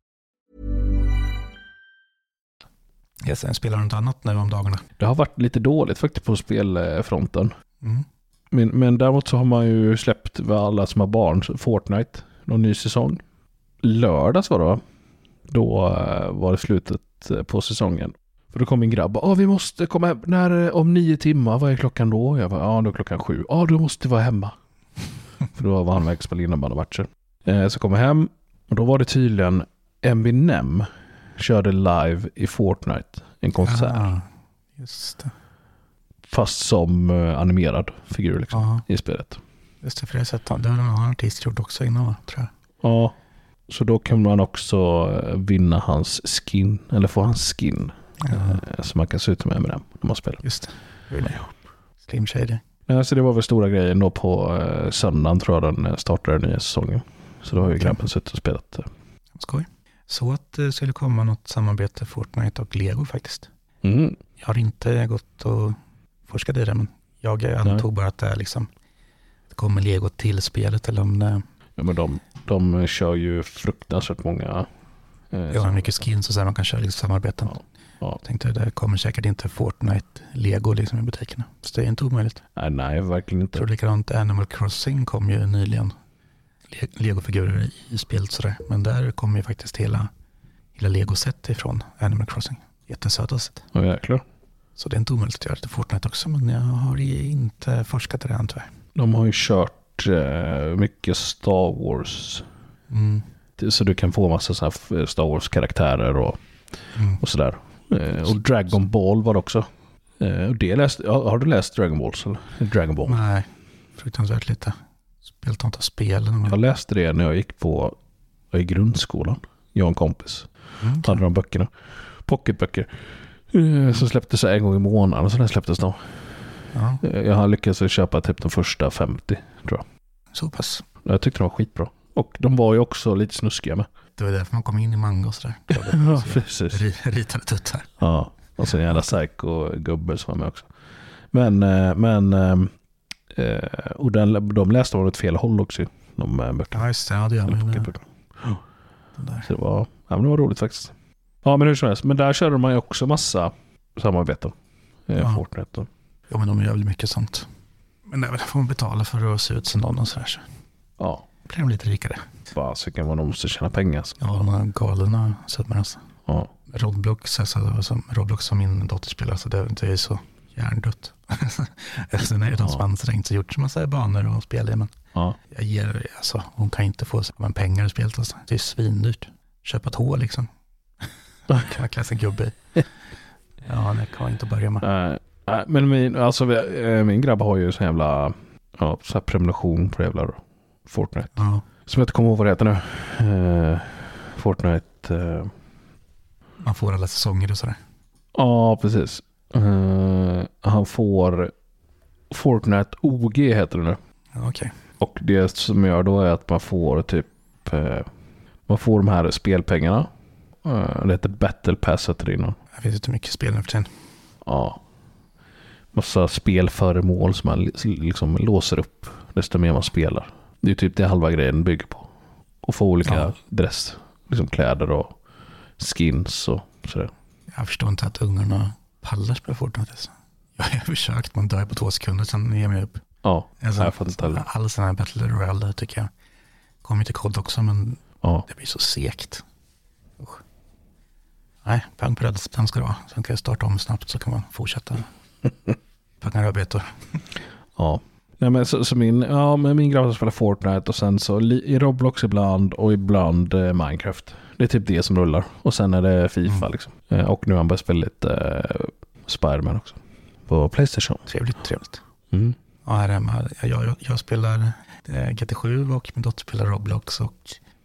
[SPEAKER 1] Jag sen spelar något annat nu om dagarna.
[SPEAKER 2] Det har varit lite dåligt faktiskt på spelfronten.
[SPEAKER 1] Mm.
[SPEAKER 2] Men, men däremot så har man ju släppt för alla som har barn så Fortnite. Någon ny säsong. Lördags var det va? Då eh, var det slutet eh, på säsongen. För då kom min grabb och "Ah, vi måste komma hem. När, eh, om nio timmar, vad är klockan då? Jag bara, ja då är klockan sju. Ja då måste vi
[SPEAKER 1] [LAUGHS]
[SPEAKER 2] vara hemma. För då var han iväg och spelade innebandymatcher. Eh, så kom jag hem och då var det tydligen Eminem körde live i Fortnite. En konsert.
[SPEAKER 1] Ah, just det.
[SPEAKER 2] Fast som eh, animerad figur liksom,
[SPEAKER 1] Ja,
[SPEAKER 2] i spelet.
[SPEAKER 1] just det. För det har jag sett. Det har någon annan artist gjort också innan va? Tror jag.
[SPEAKER 2] Ja, så då kan man också eh, vinna hans skin, eller få hans skin.
[SPEAKER 1] Ja,
[SPEAKER 2] eh, Så man kan se ut med Eminem när man spelar.
[SPEAKER 1] just det. Det vill jag ihop. Slim Shady.
[SPEAKER 2] Ja, så det var väl stora grejen då på eh, söndagen tror jag den eh, startade den nya säsongen. Så då har ju
[SPEAKER 1] Okej.
[SPEAKER 2] grabben suttit och spelat. eh.
[SPEAKER 1] Skoj. Så att det skulle komma något samarbete Fortnite och Lego faktiskt.
[SPEAKER 2] Mm.
[SPEAKER 1] Jag har inte gått och forskat i det, men jag antog bara att det är liksom, det kommer Lego till spelet eller om det
[SPEAKER 2] Ja, men de, de eh, kör ju fruktansvärt många. eh,
[SPEAKER 1] gör mycket skins och sen man kan köra liksom samarbeten.
[SPEAKER 2] Ja. Ja.
[SPEAKER 1] Jag tänkte det kommer säkert inte Fortnite Lego liksom i butikerna. Så det är inte omöjligt.
[SPEAKER 2] Nej, nej, verkligen
[SPEAKER 1] Jag tror
[SPEAKER 2] inte.
[SPEAKER 1] likadant Animal Crossing kom ju nyligen. Le- Lego-figurer i- i spelet sådär. Men där kom ju faktiskt hela, hela Lego-set ifrån Animal Crossing. Jättesöta set.
[SPEAKER 2] Ja, jäklar.
[SPEAKER 1] Så det är inte omöjligt att göra lite Fortnite också. Men jag har ju inte forskat i det än tyvärr.
[SPEAKER 2] De har ju kört eh, mycket Star Wars.
[SPEAKER 1] Mm.
[SPEAKER 2] Så du kan få massa så här f- Star Wars-karaktärer och
[SPEAKER 1] Mm.
[SPEAKER 2] och sådär. Eh, och Dragon Ball var det också. Eh, och det läste, ja, har du läst Dragon Balls? Eller? Dragon Ball.
[SPEAKER 1] Nej, fruktansvärt lite. Spelat inte av spelen.
[SPEAKER 2] Jag
[SPEAKER 1] Men...
[SPEAKER 2] läste det när jag gick på i grundskolan. Jag och en kompis
[SPEAKER 1] Mm.
[SPEAKER 2] hade de böckerna. Pocketböcker. Eh, som släpptes en gång i månaden. Så där släpptes de.
[SPEAKER 1] Ja,
[SPEAKER 2] Eh, jag har lyckats köpa typ de första 50.
[SPEAKER 1] så pass.
[SPEAKER 2] Jag tyckte de var skitbra. Och de var ju också lite snuskiga med.
[SPEAKER 1] Det var därför man kom in i manga och [LAUGHS] sådär.
[SPEAKER 2] Ja, precis.
[SPEAKER 1] Ri- Ritade tuttar.
[SPEAKER 2] Ja, och så en jävla psycho-gubbe som var med också. Men, eh, men eh, eh, och den, de läste åt fel håll också. De eh, böckerna.
[SPEAKER 1] Ja, just det. Ja, det gör
[SPEAKER 2] Eller
[SPEAKER 1] man. ju.
[SPEAKER 2] pocketböckerna.
[SPEAKER 1] Den där.
[SPEAKER 2] Så det var, ja, men det var roligt faktiskt. Ja, men hur som helst. Men där körde man ju också massa samarbeten. Eh,
[SPEAKER 1] Ja.
[SPEAKER 2] Fortnite och,
[SPEAKER 1] Ja, men de gör väl mycket sånt. Men det är väl- får man betala för att se ut som någon och sådär. Så
[SPEAKER 2] ja,
[SPEAKER 1] blir de lite rikare.
[SPEAKER 2] fasiken vad de måste tjäna pengar. Alltså.
[SPEAKER 1] Ja, de här galna sötmarna. Alltså.
[SPEAKER 2] Ja.
[SPEAKER 1] Roblox, alltså, det var som, Roblox som min dotter spelar, så det, det är så hjärndött. [LAUGHS] Sen är det de som
[SPEAKER 2] Ja.
[SPEAKER 1] ansträngt sig och gjort en massa banor och spel i, men
[SPEAKER 2] Ja.
[SPEAKER 1] jag ger, alltså, hon kan inte få så men pengar i spelet. Alltså. Det är svindyrt. Köpa ett hål
[SPEAKER 2] [LAUGHS]
[SPEAKER 1] liksom. kan man klä sig gubbe i. Ja, det kan man inte börja med.
[SPEAKER 2] Nej, nej, Eh, men min, alltså, vi- eh, min grabb har ju så jävla ja, så här prenumeration på jävla Fortnite.
[SPEAKER 1] Ja,
[SPEAKER 2] Som jag inte kommer ihåg vad det heter nu. Eh, Fortnite. eh,
[SPEAKER 1] man får alla säsonger och sådär.
[SPEAKER 2] Ja, precis. Eh, han får Fortnite OG heter det nu.
[SPEAKER 1] Ja, Okej.
[SPEAKER 2] Och det som gör då är att man får typ eh, man får de här spelpengarna. Eh, det heter Battle Pass heter det innan.
[SPEAKER 1] Jag vet inte hur mycket spel nu för tiden.
[SPEAKER 2] Ja. Massa spelföremål som man li- liksom låser upp desto mer man spelar. Det är ju typ det halva grejen bygger på. Och få olika
[SPEAKER 1] Ja.
[SPEAKER 2] dress, liksom kläder och skins och sådär.
[SPEAKER 1] Jag förstår inte att ungarna pallar spela Fortnite. Alltså. [LAUGHS] Jag har försökt, man dör på två sekunder, sen ger jag mig upp.
[SPEAKER 2] Ja,
[SPEAKER 1] Alltså,
[SPEAKER 2] jag fattar inte heller.
[SPEAKER 1] Alla sådana här Battle Royale tycker jag. Kommer till kod också, men
[SPEAKER 2] Ja.
[SPEAKER 1] det blir så segt. Usch. Nej, pang på rödbetan ska det vara. Sen kan jag starta om snabbt så kan man
[SPEAKER 2] [LAUGHS]
[SPEAKER 1] fortsätta. Packa rödbetor.
[SPEAKER 2] ja. Nej, men så, så min, ja, men min grabb spelar Fortnite och sen så li, i Roblox ibland och ibland eh, Minecraft. Det är typ det som rullar. Och sen är det Fifa liksom. Eh, och nu har han börjat spela lite eh, Spiderman också. På Playstation.
[SPEAKER 1] Trevligt, trevligt.
[SPEAKER 2] Mm.
[SPEAKER 1] Ja, här hemma, jag, jag, jag spelar eh, GT7 och min dotter spelar Roblox och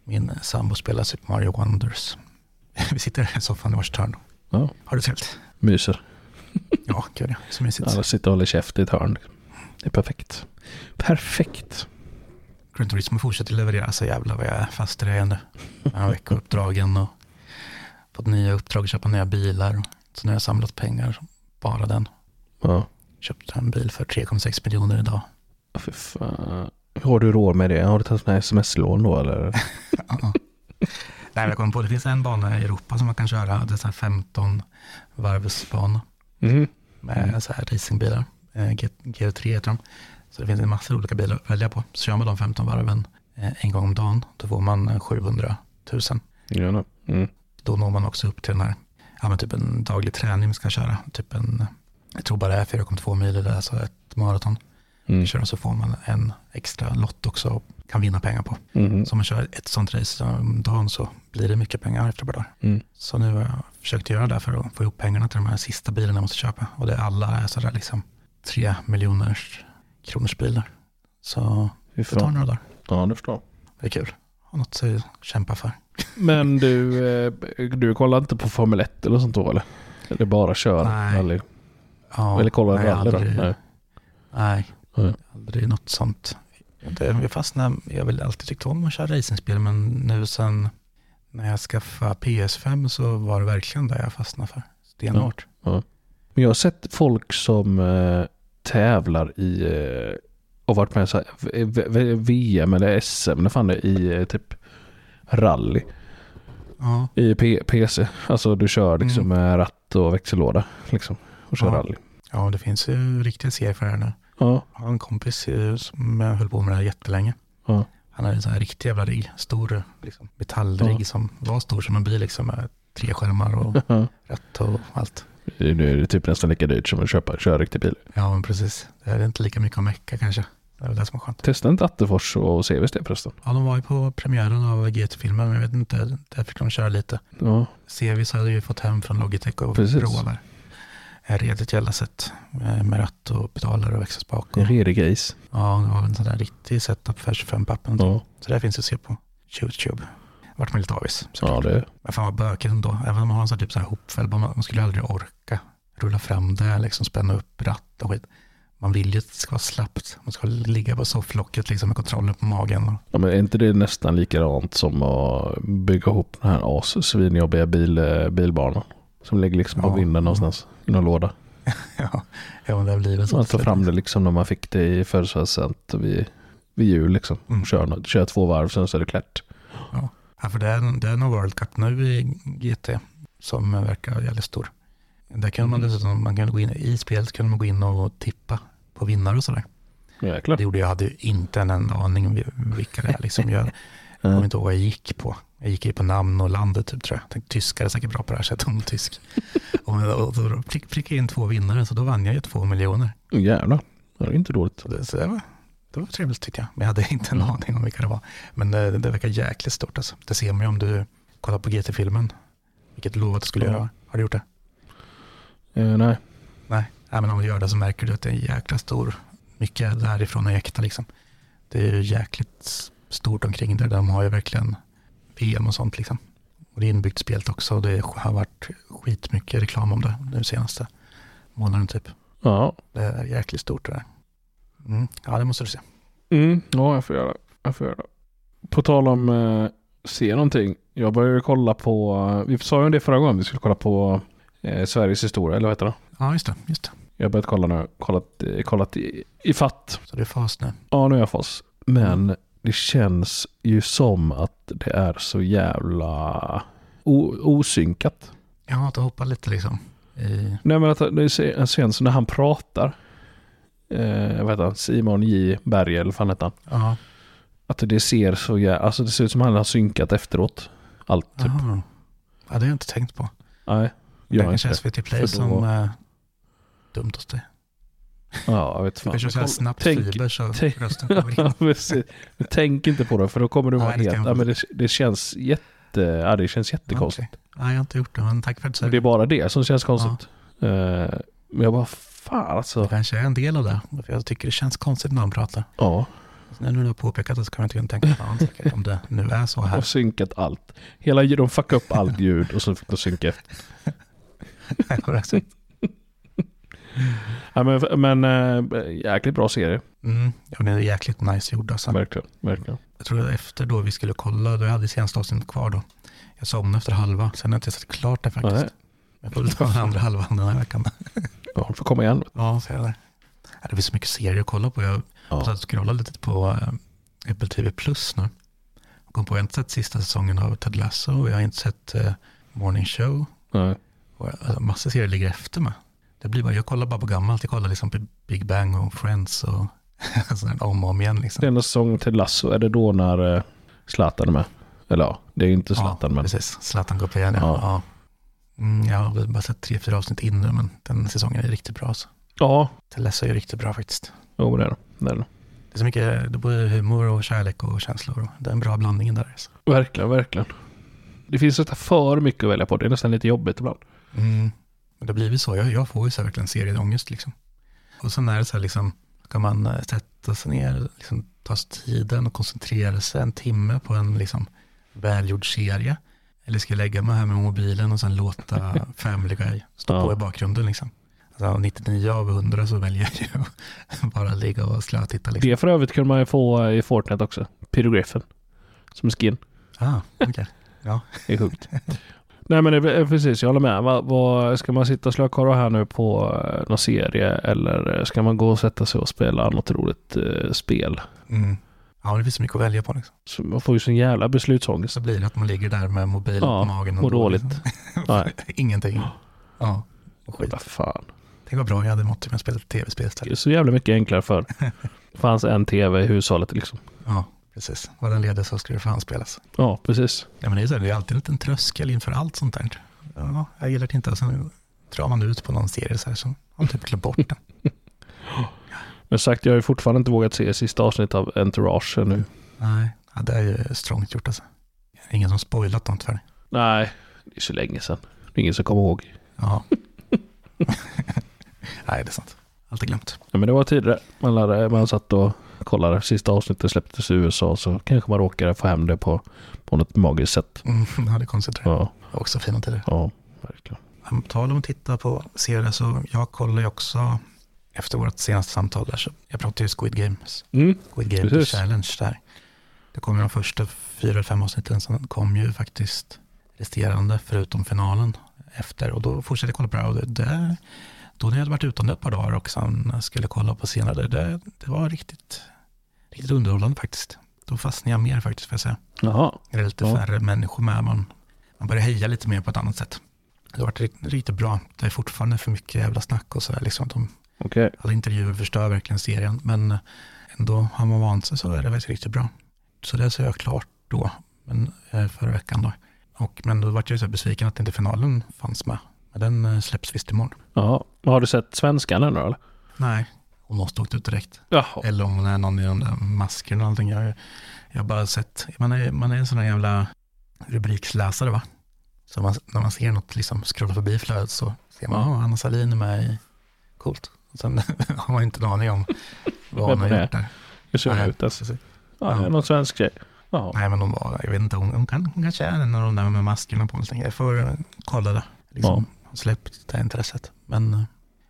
[SPEAKER 1] min sambo spelar Super Mario Wonders. [LAUGHS] Vi sitter här i soffan i varsitt hörn.
[SPEAKER 2] Ja,
[SPEAKER 1] Har du trevligt?
[SPEAKER 2] myser.
[SPEAKER 1] Ja, gud ja. Så mysigt.
[SPEAKER 2] Alla sitter och håller käft i ett hörn. Det är perfekt. Perfekt.
[SPEAKER 1] Gran Turismo fortsätter leverera. Alltså jävlar vad jag är fast i det här nu. Jag har veckouppdragen och fått nya uppdrag, köpa nya bilar. Så nu har jag samlat pengar, bara den.
[SPEAKER 2] Ja.
[SPEAKER 1] Köpte en bil för 3,6 miljoner idag.
[SPEAKER 2] Ja, Fy fan. Har du råd med det? Har du tagit sådana här sms-lån då eller?
[SPEAKER 1] Nej, men jag kom på det finns en bana i Europa som man kan köra. Det är en 15 varvsbana
[SPEAKER 2] Mhm.
[SPEAKER 1] med så här racingbilar. Eh, G- GR3 heter de. Så det finns en massa olika bilar att välja på. Så kör man de 15 varven eh, en gång om dagen, då får man eh, 700 000.
[SPEAKER 2] Ja, no. mm.
[SPEAKER 1] Då når man också upp till den här, ja men typ en daglig träning man ska köra. Typ en, jag tror bara det är 4,2 mil eller alltså ett maraton.
[SPEAKER 2] Mm.
[SPEAKER 1] Kör och så får man en extra lott också och kan vinna pengar på.
[SPEAKER 2] Mhm.
[SPEAKER 1] Så om man kör ett sånt race om dagen så blir det mycket pengar efter ett par dagar.
[SPEAKER 2] Mm.
[SPEAKER 1] Så nu har jag försökt göra det här för att få ihop pengarna till de här sista bilarna jag måste köpa. Och det är alla är sådär liksom tre miljoners kronors bilar. Så
[SPEAKER 2] Fy
[SPEAKER 1] det tar
[SPEAKER 2] fan.
[SPEAKER 1] några dagar.
[SPEAKER 2] Ja, det förstår jag.
[SPEAKER 1] Det är kul. Har något att kämpa för.
[SPEAKER 2] Men du, eh, du kollar inte på Formel 1 eller sånt då eller? Eller bara kör?
[SPEAKER 1] Nej.
[SPEAKER 2] Eller,
[SPEAKER 1] Ja,
[SPEAKER 2] eller kollar
[SPEAKER 1] nej,
[SPEAKER 2] rally då?
[SPEAKER 1] aldrig-
[SPEAKER 2] Nej.
[SPEAKER 1] Nej,
[SPEAKER 2] Nej.
[SPEAKER 1] aldrig något sånt. Det, jag fastnar, jag vill alltid tyckt om att köra racingspel, men nu sen när jag skaffade PS5 så var det verkligen det jag fastnade för. Stenhårt.
[SPEAKER 2] Men jag har sett folk som eh, tävlar i eh, och varit med i så här, v- v- VM eller SM eller fan det är, i eh, typ rally
[SPEAKER 1] Ja,
[SPEAKER 2] i P- PC. Alltså du kör liksom med ratt och växellåda liksom och kör
[SPEAKER 1] Ja.
[SPEAKER 2] rally.
[SPEAKER 1] ja det finns ju riktiga serier för det här nu.
[SPEAKER 2] Ja,
[SPEAKER 1] Jag har en kompis eh, som jag höll på med det här jättelänge.
[SPEAKER 2] ja,
[SPEAKER 1] Han hade en sån här riktig jävla rigg, stor liksom, metallrigg
[SPEAKER 2] Ja.
[SPEAKER 1] som var stor som en bil liksom med tre skärmar [LAUGHS] och
[SPEAKER 2] ja.
[SPEAKER 1] ratt och allt.
[SPEAKER 2] Nu är [LAUGHS] det typ nästan lika dyrt som att köpa, köra riktig bil.
[SPEAKER 1] Ja, men precis. Det är inte lika mycket att mecka kanske. Det är väl det som är skönt.
[SPEAKER 2] Testa inte Attefors och CVs det förresten.
[SPEAKER 1] Ja, de var ju på premiären av GT-filmen, men jag vet inte, där fick de köra lite.
[SPEAKER 2] Ja,
[SPEAKER 1] Sevis hade ju fått hem från Logitech och
[SPEAKER 2] Precis.
[SPEAKER 1] provar. En redigt jävla sätt eh, med ratt och pedaler och växelspak.
[SPEAKER 2] en
[SPEAKER 1] Och,
[SPEAKER 2] redig gris.
[SPEAKER 1] ja, det var en sån där riktig setup för 25 pappen.
[SPEAKER 2] Ja,
[SPEAKER 1] Så det finns att se på YouTube. Vart man lite avis. såklart.
[SPEAKER 2] ja det.
[SPEAKER 1] Men fan vad bökigt ändå. Även om man har en sån här typ så här hopfälld, man, man skulle aldrig orka rulla fram det, liksom spänna upp ratt och skit. Man vill ju att det ska vara slappt. Man ska ligga på sofflocket liksom med kontrollen på magen. Och,
[SPEAKER 2] Ja, men är inte det nästan likadant som att bygga ihop den här assvinjobbiga bil, eh, bilbanan? Som ligger liksom på
[SPEAKER 1] Ja.
[SPEAKER 2] vinden någonstans i någon låda.
[SPEAKER 1] [LAUGHS] ja, ja, men det blir väl så.
[SPEAKER 2] Man tar fram det liksom när man fick det i födelsedagspresent vid, vid jul liksom.
[SPEAKER 1] Mm.
[SPEAKER 2] Kör, något- kör två varv sen så är det klart.
[SPEAKER 1] Ja, för det är, det är någon World Cup nu i GT som verkar jävligt stor. Där kan
[SPEAKER 2] Mm.
[SPEAKER 1] man dessutom, man kan gå in, i spelet kan man gå in och tippa på vinnare och sådär.
[SPEAKER 2] Jäklar.
[SPEAKER 1] Det gjorde jag, jag hade ju inte en enda aning om vi- vilka det är liksom.
[SPEAKER 2] [LAUGHS]
[SPEAKER 1] Jag kommer inte ihåg vad jag gick på. Jag gick ju på namn och landet typ tror jag. Tänkte, tyskar är säkert bra på det här så jag tog en
[SPEAKER 2] [LAUGHS]
[SPEAKER 1] tysk. Och, och då prick, prickade jag in två vinnare så då vann jag ju två miljoner.
[SPEAKER 2] Åh, Jävlar. Det är inte dåligt.
[SPEAKER 1] Så det, så det, var, det var trevligt tyckte jag. Men jag hade [LAUGHS] inte en aning om vilka det var. Men eh, det, det verkar jäkligt stort alltså. Det ser man ju om du kollar på GT-filmen. Vilket du lovade att du skulle
[SPEAKER 2] Ja.
[SPEAKER 1] göra. Har du gjort det?
[SPEAKER 2] Eh, nej.
[SPEAKER 1] Nej. Nej, men om du gör det så märker du att det är en jäkla stor, mycket därifrån och jäkta liksom. Det är ju jäkligt stort omkring där. De har ju verkligen VM och sånt liksom. Och det är inbyggt spelet också och det har varit skitmycket reklam om det nu senaste månaden typ.
[SPEAKER 2] Ja.
[SPEAKER 1] Det är jäkligt stort det där. Mm. Ja, det måste du se.
[SPEAKER 2] Mm. Ja, jag får göra det. Jag får göra det. På tal om eh, se någonting. Jag började kolla på, eh, vi sa ju om det förra gången, vi skulle kolla på eh, Sveriges historia, eller vad heter det?
[SPEAKER 1] Ja, just det. Just det.
[SPEAKER 2] Jag har börjat kolla nu, kollat, eh, kollat i, i fatt.
[SPEAKER 1] Så det är fas nu.
[SPEAKER 2] Ja, nu är jag fast. Men det känns ju som att det är så jävla o, osynkat.
[SPEAKER 1] Ja, att hoppa lite liksom. I,
[SPEAKER 2] Nej, men att eh, det är se- en scen så när han pratar, eh, vad heter han, Simon J. Berg, eller vad fan heter han?
[SPEAKER 1] ja,
[SPEAKER 2] Att det ser så jävla, alltså det ser ut som att han har synkat efteråt. Allt typ.
[SPEAKER 1] aha. ja, det har jag inte tänkt på.
[SPEAKER 2] Nej,
[SPEAKER 1] Det
[SPEAKER 2] gör
[SPEAKER 1] kanske
[SPEAKER 2] inte
[SPEAKER 1] är
[SPEAKER 2] det.
[SPEAKER 1] SVT Play
[SPEAKER 2] För då-
[SPEAKER 1] som eh, dumt hos dig.
[SPEAKER 2] Ja, jag vet
[SPEAKER 1] Du
[SPEAKER 2] fan.
[SPEAKER 1] kanske kör
[SPEAKER 2] Kolla-
[SPEAKER 1] snabbt
[SPEAKER 2] tänk-
[SPEAKER 1] fiber så
[SPEAKER 2] tänk-
[SPEAKER 1] rösten kommer in.
[SPEAKER 2] [LAUGHS] Ja, precis. Men Tänk inte på det, för då kommer du vara
[SPEAKER 1] Nej, det ska
[SPEAKER 2] helt...
[SPEAKER 1] jag
[SPEAKER 2] Ja,
[SPEAKER 1] inte.
[SPEAKER 2] men det, det känns jätte... Ja, det känns jättekonstigt.
[SPEAKER 1] Okej. Nej, jag har inte gjort det, men tack för att du
[SPEAKER 2] Men Det
[SPEAKER 1] säger.
[SPEAKER 2] är bara det som känns konstigt. Eh, Men jag bara, fan
[SPEAKER 1] Det
[SPEAKER 2] alltså.
[SPEAKER 1] kanske är en del av det. För jag tycker det känns konstigt när de pratar.
[SPEAKER 2] Ja,
[SPEAKER 1] Så när du har påpekat det så kan jag inte tänka på annat säkert om det nu är
[SPEAKER 2] [LAUGHS]
[SPEAKER 1] så
[SPEAKER 2] och
[SPEAKER 1] här.
[SPEAKER 2] synkat allt. Hela, de fuckade upp allt ljud och så fick de synka efter.
[SPEAKER 1] Ja, det är så.
[SPEAKER 2] Ja, Ja, men, men eh, jäkligt bra serie.
[SPEAKER 1] Mm, ja, den är jäkligt nice gjord alltså.
[SPEAKER 2] Verkligen. verkligen.
[SPEAKER 1] Jag tror att efter då vi skulle kolla, då jag hade senaste avsnittet kvar då. Jag somnade efter halva, sen har jag inte sett klart det faktiskt.
[SPEAKER 2] Nej.
[SPEAKER 1] Jag får väl ta den andra halvan den här veckan.
[SPEAKER 2] Ja, du får komma igen.
[SPEAKER 1] Ja, så är det. Ja, Det finns så mycket serier att kolla på. Jag
[SPEAKER 2] Ja.
[SPEAKER 1] satt och scrollade lite på eh, Apple TV Plus nu. Jag kom på att jag inte sett sista säsongen av Ted Lasso och jag har inte sett eh, Morning Show.
[SPEAKER 2] Nej.
[SPEAKER 1] Och, alltså, massa serier ligger efter mig. Det blir bara, jag kollar bara på gammalt. Jag kollar liksom på Big Bang och Friends och [LAUGHS] sådär om och om igen. Liksom.
[SPEAKER 2] Denna säsong till Lasso, är det då när eh, Zlatan är med? Eller ja, det är ju inte Zlatan
[SPEAKER 1] ja,
[SPEAKER 2] men...
[SPEAKER 1] precis. Zlatan går på igen, ja.
[SPEAKER 2] Ja.
[SPEAKER 1] ja. Mm, jag har väl bara sett tre, fyra avsnitt in nu, men den säsongen är riktigt bra. Alltså.
[SPEAKER 2] Ja,
[SPEAKER 1] Ted Lasso är riktigt bra faktiskt.
[SPEAKER 2] jo men det är det. det. är det.
[SPEAKER 1] Det är så mycket, det är både humor och kärlek och känslor. och Det är en bra blandning där. Alltså.
[SPEAKER 2] Verkligen, verkligen. Det finns nästan för mycket att välja på. Det är nästan lite jobbigt ibland.
[SPEAKER 1] Mm. Men det blir väl så. Jag, jag får ju så här verkligen serieångest liksom. Och sen är det så här liksom, kan man eh, sätta sig ner, liksom, ta sig tiden och koncentrera sig en timme på en liksom, välgjord serie. Eller ska jag lägga mig här med mobilen och sen låta Family Guy stå
[SPEAKER 2] Ja.
[SPEAKER 1] på i bakgrunden liksom. Alltså, 99 av 100 så väljer jag ju [LAUGHS] att bara ligga och slötitta liksom.
[SPEAKER 2] Det för övrigt kunde man ju få eh, i Fortnite också. Pyrografen. Som skin.
[SPEAKER 1] Ah, okej. Ja.
[SPEAKER 2] Det
[SPEAKER 1] [LAUGHS]
[SPEAKER 2] är sjukt. Nej men det, är precis, jag håller med. Vad, vad, ska man sitta och slökorra här nu på eh, någon serie eller eh, ska man gå och sätta sig och spela något roligt eh, spel?
[SPEAKER 1] Mm. Ja, det finns så mycket att välja på liksom.
[SPEAKER 2] Så man får ju sån jävla beslutsångest.
[SPEAKER 1] Så blir det att man ligger där med mobilen
[SPEAKER 2] Ja,
[SPEAKER 1] på magen.
[SPEAKER 2] mår
[SPEAKER 1] då,
[SPEAKER 2] dåligt. [LAUGHS]
[SPEAKER 1] liksom.
[SPEAKER 2] Nej,
[SPEAKER 1] [LAUGHS] Ingenting. Ja. Och skit.
[SPEAKER 2] vad fan.
[SPEAKER 1] Tänk vad bra jag hade mått om jag spelade tv-spel
[SPEAKER 2] Det
[SPEAKER 1] istället.
[SPEAKER 2] är så jävla mycket enklare för. Det fanns en tv i hushållet liksom.
[SPEAKER 1] Ja, precis. Var den ledig så skulle det fan spelas.
[SPEAKER 2] Ja, precis.
[SPEAKER 1] Ja, men det är ju så här, det är alltid en liten tröskel inför allt sånt där. Ja, jag gillar det inte. Och Sen drar man ut på någon serie så här som har man typ glömt bort
[SPEAKER 2] [LAUGHS]
[SPEAKER 1] den.
[SPEAKER 2] Men sagt, jag har ju fortfarande inte vågat se sista avsnittet av Entourage ännu.
[SPEAKER 1] Nej, ja, det är ju strångt gjort alltså. Ingen som spoilat något för dig.
[SPEAKER 2] Nej, det är så länge sedan. Det är ingen som kommer ihåg. [LAUGHS]
[SPEAKER 1] Ja. [LAUGHS] Nej, det är sant. Allt är glömt.
[SPEAKER 2] Ja, men det var tidigare. Man, lärde, man satt och kollade. Sista avsnittet släpptes i USA så kanske man råkade få hem det på, på något magiskt sätt.
[SPEAKER 1] Mm, [LAUGHS] ja, det är konstigt. Ja.
[SPEAKER 2] Ja,
[SPEAKER 1] Också fina tider.
[SPEAKER 2] ja, verkligen.
[SPEAKER 1] På tal om att titta på serier så jag kollar ju också efter vårt senaste samtal där så jag pratade ju Squid Games.
[SPEAKER 2] Mm.
[SPEAKER 1] Squid Game
[SPEAKER 2] Precis.
[SPEAKER 1] Challenge där. Det kom ju de första fyra eller fem avsnitten, sen kom ju faktiskt resterande förutom finalen efter. Och då fortsatte jag kolla på det här och det, det då när jag hade varit utan det ett par dagar och sen skulle kolla på senare, det, det var riktigt, riktigt underhållande faktiskt. Då fastnade jag mer faktiskt får jag säga.
[SPEAKER 2] Jaha.
[SPEAKER 1] Det är lite
[SPEAKER 2] Ja.
[SPEAKER 1] färre människor med, man, man börjar heja lite mer på ett annat sätt. Det har varit rikt- riktigt bra. Det är fortfarande för mycket jävla snack och sådär. Liksom. De,
[SPEAKER 2] Okej.
[SPEAKER 1] alla intervjuer förstör verkligen serien, men eh, ändå har man vant sig så är det faktiskt riktigt bra. Så det ser jag klart då, men, eh, förra veckan då. Och, men då vart jag ju så här besviken att inte finalen fanns med. Men den eh, släpps visst imorgon.
[SPEAKER 2] Jaha. Har du sett svenskan ännu eller?
[SPEAKER 1] Nej, hon måste åkt ut direkt.
[SPEAKER 2] Jaha.
[SPEAKER 1] Eller om hon är någon i de där maskerna och allting. Jag, jag har bara sett, man är, man är en sån där jävla rubriksläsare va? Så man, när man ser något liksom scrolla förbi flödet så ser man, ja, Anna Sahlin är med i, coolt. Och sen [LAUGHS] har man ju inte en aning om vad hon
[SPEAKER 2] Vem
[SPEAKER 1] har
[SPEAKER 2] hon är.
[SPEAKER 1] gjort där.
[SPEAKER 2] Hur ser hon ut? alltså. ens?
[SPEAKER 1] precis.
[SPEAKER 2] Ja, det är någon svensk tjej. Jaha.
[SPEAKER 1] Nej men hon var, jag vet inte, hon, hon, kan, hon kanske är en av de där med maskerna på. Jag, jag får kolla det. Liksom, ja. Släppt det intresset. Men, eh,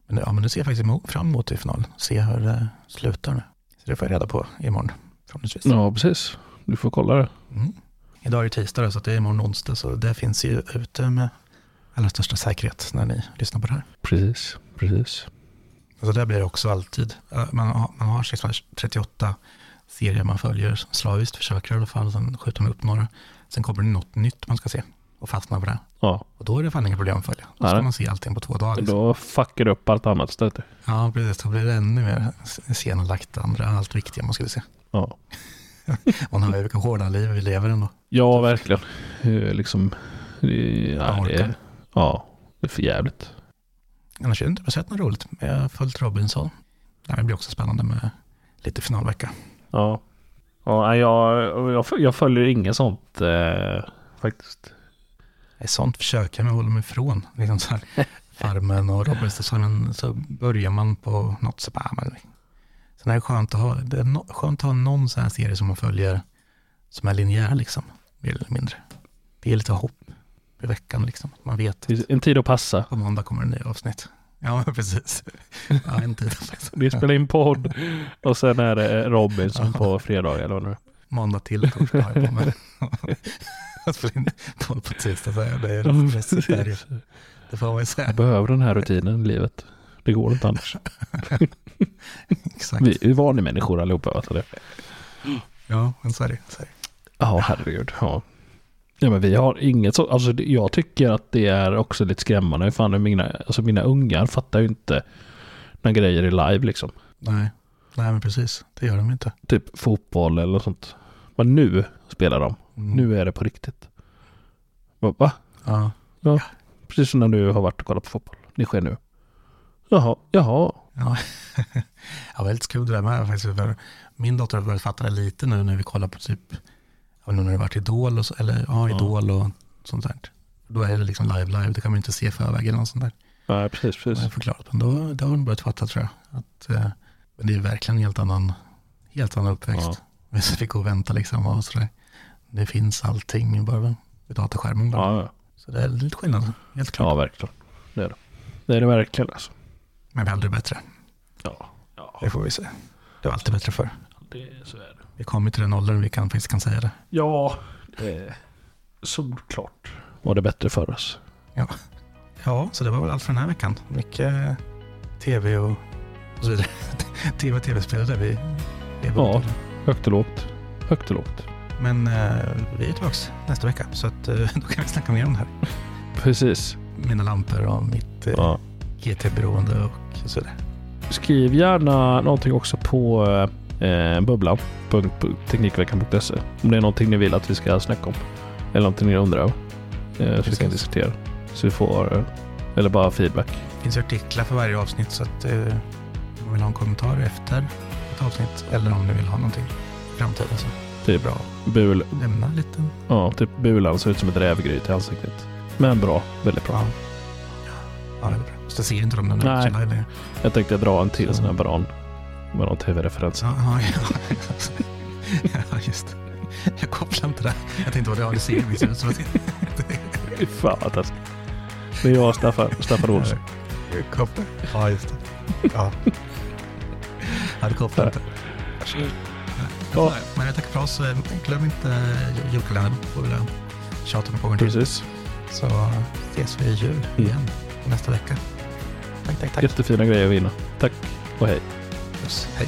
[SPEAKER 1] men, nu- ja, men nu ser jag faktiskt emo- fram emot i finalen. Se hur det slutar nu. Så det får jag reda på imorgon förhoppningsvis.
[SPEAKER 2] Ja, precis. Du får kolla det.
[SPEAKER 1] Mm. Idag är det tisdag då, så att det är imorgon onsdag. Så det finns ju ute med allra största säkerhet när ni lyssnar på det här.
[SPEAKER 2] Precis. Precis.
[SPEAKER 1] Alltså där blir det också alltid. eh, Man har, man har 638 serier man följer, slaviskt försöker i alla fall, sen skjuter man upp några. Sen kommer det något nytt man ska se och fastnar på det.
[SPEAKER 2] Ja.
[SPEAKER 1] Och då är det fan inga problem att följa. Då
[SPEAKER 2] Nej.
[SPEAKER 1] ska man se allting på två dagar. Liksom.
[SPEAKER 2] Då fuckar du upp allt annat istället.
[SPEAKER 1] Ja, precis. Då blir det ännu mer senlagt det andra, allt viktiga man skulle se.
[SPEAKER 2] Ja.
[SPEAKER 1] Man hör ju vilka hårda liv vi lever ändå.
[SPEAKER 2] Ja, verkligen. Eh, Liksom. eh,
[SPEAKER 1] Man
[SPEAKER 2] Ja, det
[SPEAKER 1] orkar.
[SPEAKER 2] är, ja, det är för jävligt.
[SPEAKER 1] Annars har jag inte sett något roligt. Men jag har följt Robinson. Det här blir också spännande med lite finalvecka.
[SPEAKER 2] Ja. ja nej, jag, jag, jag följer inget sånt eh, faktiskt.
[SPEAKER 1] Det är sånt försöker jag mig hålla mig ifrån. Liksom så här, farmen och Robinson, så börjar man på något så bara, men Sen är det skönt att ha, det är no, skönt att ha någon sån här serie som man följer som är linjär liksom, mer eller mindre. Det är lite hopp i veckan liksom. Man vet,
[SPEAKER 2] Det är En tid att passa.
[SPEAKER 1] på måndag kommer det nya avsnitt. Ja, men precis. Ja, en tid.
[SPEAKER 2] Vi spelar in [LAUGHS] podd och sen är det Robinson på fredag eller vad nu
[SPEAKER 1] Måndag till torsdag har jag på mig. [LAUGHS] Jag spelar in på på tisdag, så jag blir precis där. ju. Det får man ju säga.
[SPEAKER 2] Jag behöver den här rutinen i livet. Det går inte annars.
[SPEAKER 1] Exakt.
[SPEAKER 2] Vi är ju vanemänniskor allihopa. Vet du det.
[SPEAKER 1] Ja, men så är det. Så är det.
[SPEAKER 2] Ja, herregud. Ja. ja, men vi har inget så. Alltså, det- jag tycker att det är också lite skrämmande. Hur Fan, hur mina, alltså, mina ungar fattar ju inte när grejer är live liksom.
[SPEAKER 1] Nej. Nej, men precis. Det gör de inte.
[SPEAKER 2] Typ fotboll eller sånt. Men nu spelar de. Nu är det på riktigt. Va? Va?
[SPEAKER 1] Mm. Ja.
[SPEAKER 2] Ja. Precis som när du har varit och kollat på fotboll. Det sker nu. Jaha, jaha.
[SPEAKER 1] Ja, [LAUGHS] ja väldigt kul det där med faktiskt. För min dotter har börjat fatta det lite nu när vi kollar på typ, jag vet inte när det varit Idol och så, eller ja, Idol och sånt där. Då är det liksom live, live, det kan man ju inte se i förväg eller något sånt där.
[SPEAKER 2] Nej, precis,
[SPEAKER 1] Det har
[SPEAKER 2] precis.
[SPEAKER 1] jag förklarat, men då, då har hon börjat fatta tror jag. Att, eh, men det är verkligen en helt annan, helt annan uppväxt. [LAUGHS] Vi fick gå och vänta liksom och sådär. Det finns allting bara vid datorskärmen. Bara.
[SPEAKER 2] Ja, ja.
[SPEAKER 1] Så det är lite skillnad, helt klart.
[SPEAKER 2] ja, verkligen. Det är det. Det är det verkligen alltså.
[SPEAKER 1] Men vi är aldrig bättre.
[SPEAKER 2] Ja, ja.
[SPEAKER 1] Det får vi se. Det var alltid bättre förr.
[SPEAKER 2] Det, så är det.
[SPEAKER 1] Vi kommer till den åldern vi kan, faktiskt kan säga det.
[SPEAKER 2] Ja, eh, solklart. Var det bättre för oss?
[SPEAKER 1] Ja. ja, så det var väl allt för den här veckan. Mycket tv och, och så vidare. [LAUGHS] tv och tv-spel där vi lever
[SPEAKER 2] Ja.
[SPEAKER 1] upp till.
[SPEAKER 2] Högt och lågt. Högt och lågt.
[SPEAKER 1] Men eh, vi är tillbaka nästa vecka, så att, eh, [LAUGHS] då kan vi snacka mer om det här.
[SPEAKER 2] Precis.
[SPEAKER 1] Mina lampor och mitt eh,
[SPEAKER 2] Ja.
[SPEAKER 1] GT-beroende och så vidare.
[SPEAKER 2] Skriv gärna någonting också på eh, bubblan.teknikveckan.se om det är någonting ni vill att vi ska snacka om. Eller någonting ni undrar över. Eh, så vi kan
[SPEAKER 1] Precis.
[SPEAKER 2] diskutera. Så vi får, eh, eller bara feedback.
[SPEAKER 1] Det finns ju artiklar för varje avsnitt, så att, eh, om ni vill ha en kommentar efter ett avsnitt eller om ni vill ha någonting i framtiden så
[SPEAKER 2] Det är bra. Bul,
[SPEAKER 1] lämna en liten...
[SPEAKER 2] ja, typ bulan ser ut som ett rävgryt i ansiktet. Men bra, väldigt bra.
[SPEAKER 1] Ja, det är bra. Så ser inte de den
[SPEAKER 2] Nej.
[SPEAKER 1] här längre.
[SPEAKER 2] Jag tänkte dra en till sån här banan. Med någon tv-referens.
[SPEAKER 1] Ja, [LAUGHS] ja, ja. ja, just det. Jag kopplar inte det. Jag tänkte vad det har det ser visst ut som att
[SPEAKER 2] Fy fan vad taskigt. Det är jag och Staffan, Staffan Olsson.
[SPEAKER 1] jag kopplar. Ja, just det. Eh, [LAUGHS] Ja. Ja, du kopplar inte.
[SPEAKER 2] Ja.
[SPEAKER 1] Ja. Men jag tackar för oss. Eh, Glöm inte julkalendern. Får vi tjata mig på en till.
[SPEAKER 2] Precis.
[SPEAKER 1] Så ses vi i jul igen nästa vecka. Tack, tack, tack.
[SPEAKER 2] Jättefina grejer att vinna. Tack och hej.
[SPEAKER 1] Puss. Hej.